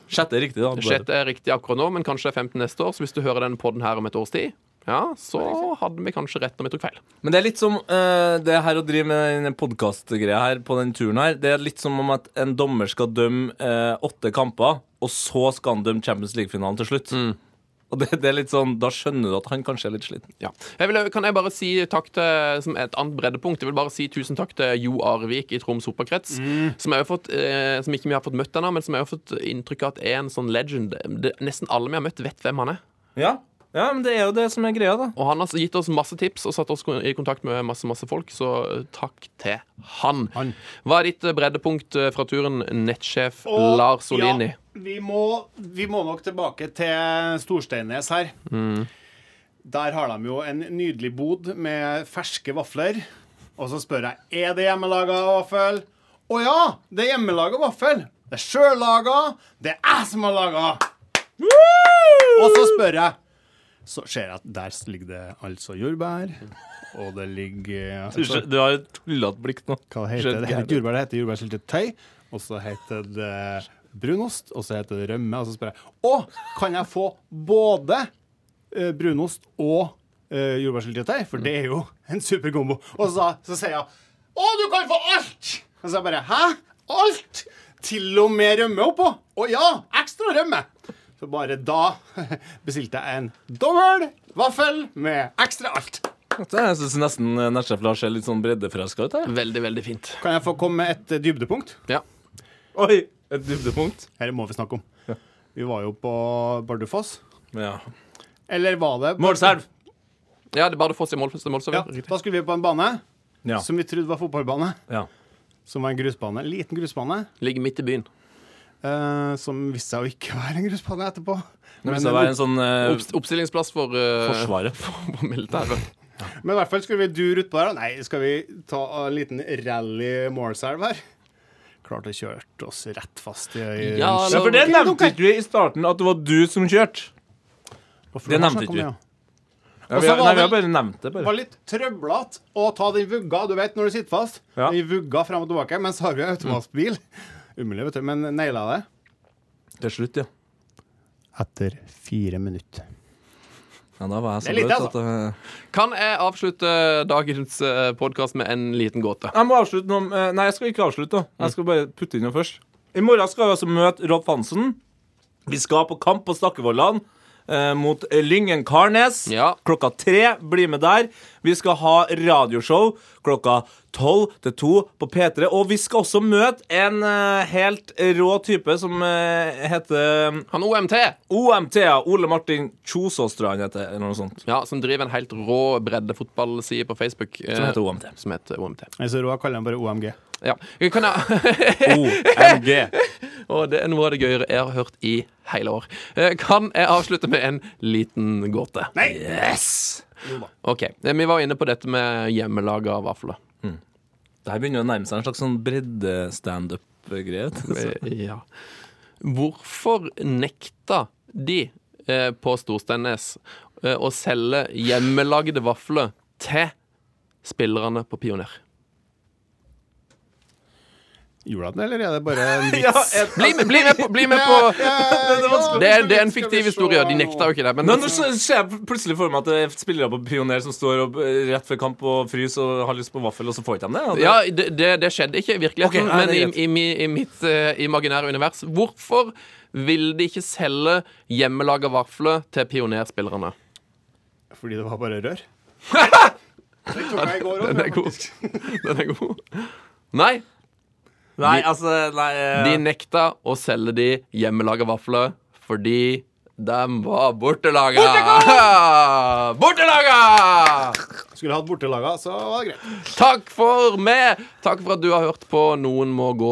Speaker 2: Sjette er riktig, da. Bare.
Speaker 1: Sjette er riktig akkurat nå, men kanskje er femte neste år. Så hvis du hører den podden her om et års tid, ja, så hadde vi kanskje rett når vi tok feil.
Speaker 2: Men det er litt som eh, det her å drive med den podkastgreia her på den turen her. Det er litt som om at en dommer skal dømme eh, åtte kamper, og så skal han dømme Champions League-finalen til slutt. Og det, det er litt sånn, Da skjønner du at han kanskje er litt sliten.
Speaker 1: Ja. Jeg vil, kan jeg bare si takk til som et annet breddepunkt? Jeg vil bare si tusen takk til Jo Arvik i Troms Hoppakrets.
Speaker 3: Mm.
Speaker 1: Som, jeg har fått, eh, som ikke vi har fått møtt ennå, men som jeg har fått inntrykk av at er en sånn legend. Det, nesten alle vi har møtt, vet hvem han er.
Speaker 2: Ja. ja, men det er jo det som er greia, da.
Speaker 1: Og han har gitt oss masse tips og satt oss i kontakt med masse masse folk, så eh, takk til han.
Speaker 3: Han.
Speaker 1: Hva er ditt eh, breddepunkt eh, fra turen, nettsjef Lars Olini?
Speaker 3: Ja, vi, må, vi må nok tilbake til Storsteinnes her. Der har de jo en nydelig bod med ferske vafler. Og så spør jeg er det hjemmelaga vaffel. Å ja, det er hjemmelaga vaffel. Det er sjøllaga. Det er jeg som har laga. Og så spør jeg så ser jeg at der ligger det altså jordbær, og det ligger
Speaker 2: Du, skjø- du har et tullete blikk nå.
Speaker 3: Hva heter det? Det
Speaker 2: Skjønner
Speaker 3: heter jordbær, det heter jordbærsyltetøy, og så heter det brunost, og så heter det rømme, og så spør jeg Å, kan jeg få både eh, brunost og eh, jordbærsyltetøy? For det er jo en super kombo. Og så, så sier jeg Å, du kan få alt! Og så bare Hæ? Alt? Til og med rømme oppå? Å ja, ekstra rømme! Så bare da bestilte jeg en dobbel vaffel med ekstra alt.
Speaker 2: Jeg syns nesten eh, nettsjef Lars ser litt sånn breddefresk ut her.
Speaker 1: Veldig, veldig fint.
Speaker 3: Kan jeg få komme med et eh, dybdepunkt?
Speaker 1: Ja.
Speaker 2: Oi! Et dybdepunkt.
Speaker 3: Dette må vi snakke om. Vi var jo på Bardufoss.
Speaker 2: Ja.
Speaker 3: Eller var det
Speaker 2: Målselv!
Speaker 1: Ja, det er bare å få seg mål, målsover.
Speaker 3: Ja, da skulle vi på en bane
Speaker 2: Ja.
Speaker 3: som vi trodde var fotballbane.
Speaker 2: ja.
Speaker 3: Som var en grusbane. En liten grusbane.
Speaker 1: Ligger midt i byen.
Speaker 3: eh, som viste seg å ikke være en grusbane etterpå.
Speaker 2: Men
Speaker 3: Men,
Speaker 2: det var en sånn eh,
Speaker 1: Opps- oppstillingsplass for eh,
Speaker 2: Forsvaret.
Speaker 1: for militæret.
Speaker 3: men i hvert fall skulle vi dure utpå der. da. Nei, skal vi ta en liten rally Målselv her? Klart det kjørte oss rett fast i, i
Speaker 1: Ja,
Speaker 2: Ja, for det
Speaker 3: Dere,
Speaker 2: nevnte
Speaker 3: dere.
Speaker 2: ikke vi i starten, at det var du som kjørte.
Speaker 3: Hvorfor
Speaker 2: det
Speaker 3: var
Speaker 2: nevnte ikke
Speaker 3: snakk om
Speaker 2: vi.
Speaker 3: det, ja?
Speaker 2: Ja,
Speaker 3: Og
Speaker 2: vi,
Speaker 3: så
Speaker 2: har-
Speaker 3: var
Speaker 2: nei, vi har
Speaker 3: vel-
Speaker 2: bare nevnt det,
Speaker 3: Det
Speaker 2: bare.
Speaker 3: var litt trøblete å ta den vugga, du vet, når du sitter fast.
Speaker 2: Ja.
Speaker 3: Den vugga frem og tilbake, men så har vi automatbil. Umulig, vet du. Men naila det.
Speaker 2: Til slutt, ja.
Speaker 3: Etter fire minutter.
Speaker 2: Ja, da var jeg så
Speaker 3: Det er lite,
Speaker 2: bløt at eh,
Speaker 1: Kan jeg avslutte dagens podkast med en liten gåte?
Speaker 2: Jeg må avslutte noe om- eh, Nei, jeg skal ikke avslutte. da. Jeg skal bare putte inn noe først. I morgen skal vi altså møte Rolf Hansen. Vi skal på kamp på Stakkevollan eh, mot Lyngen Karnes.
Speaker 1: Ja.
Speaker 2: Klokka tre. Bli med der. Vi skal ha radioshow klokka tolv til to på P3. Og vi skal også møte en eh, helt rå type som eh, heter
Speaker 1: Han OMT,
Speaker 2: OMT. ja. Ole Martin Kjosås, tror jeg han heter. Eller noe sånt.
Speaker 1: ja, som driver en helt rå breddefotballside på Facebook. eh,
Speaker 2: Som heter OMT.
Speaker 1: som heter OMT.
Speaker 3: Altså, Roa kaller han bare OMG.
Speaker 1: Ja. Kan jeg,
Speaker 2: OMG.
Speaker 1: og det er noe av det gøyere jeg har hørt i hele år. Eh, Kan jeg avslutte med en liten gåte?
Speaker 3: Nei!
Speaker 2: Yes!
Speaker 1: OK. eh, Vi var inne på dette med hjemmelaga vafler.
Speaker 2: Det her begynner å nærme seg en slags sånn bredde-standup-greie.
Speaker 1: Eh, Ja. Hvorfor nekta de eh, på Storsteinnes eh, å selge hjemmelagde vafler til spillerne på Pioner?
Speaker 3: Gjorde han det, eller er det bare en vits?
Speaker 2: Ja, jeg-
Speaker 1: Bli med, bli med på, bli med på det er, det er en fiktiv historie, de nekta jo ikke det. Men
Speaker 2: Nå, nå så ser jeg plutselig for meg at det er spillere på Pioner som står opp eh, rett før kamp og fryser og har lyst på vaffel, og så får ikke de det. og det.
Speaker 1: ja, det, det, det skjedde ikke i virkeligheten,
Speaker 2: Ok, nei, det er
Speaker 1: men i, i, mi- i mitt eh, imaginære univers. Hvorfor ville de ikke selge hjemmelaga vafler til pionerspillerne?
Speaker 3: Fordi det var bare rør. Den tok jeg i går
Speaker 1: Den er
Speaker 3: òg.
Speaker 1: god. Den er god. Nei,
Speaker 2: Nei, altså nei, eh,
Speaker 1: De nekta å selge de hjemmelaga vafler fordi de var bortelaga. Bortelaga!
Speaker 3: Skulle hatt bortelaga, så var det greit.
Speaker 1: Takk for meg! Takk for at du har hørt på Noen må gå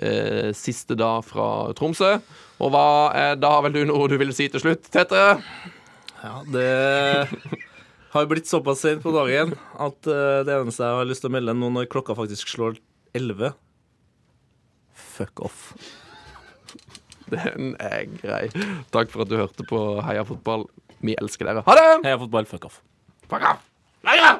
Speaker 1: eh, siste dag fra Tromsø. Og hva er da vel du noe du vil si til slutt, Tete?
Speaker 2: ja, Det har blitt såpass sent på dagen at eh, det eneste jeg har lyst til å melde nå når klokka faktisk slår 11 Fuck off.
Speaker 1: Den er grei. Takk for at du hørte på Heia fotball. Vi elsker dere. Ha det!
Speaker 2: Heia fotball, fuck off.
Speaker 1: Fuck off! Heia!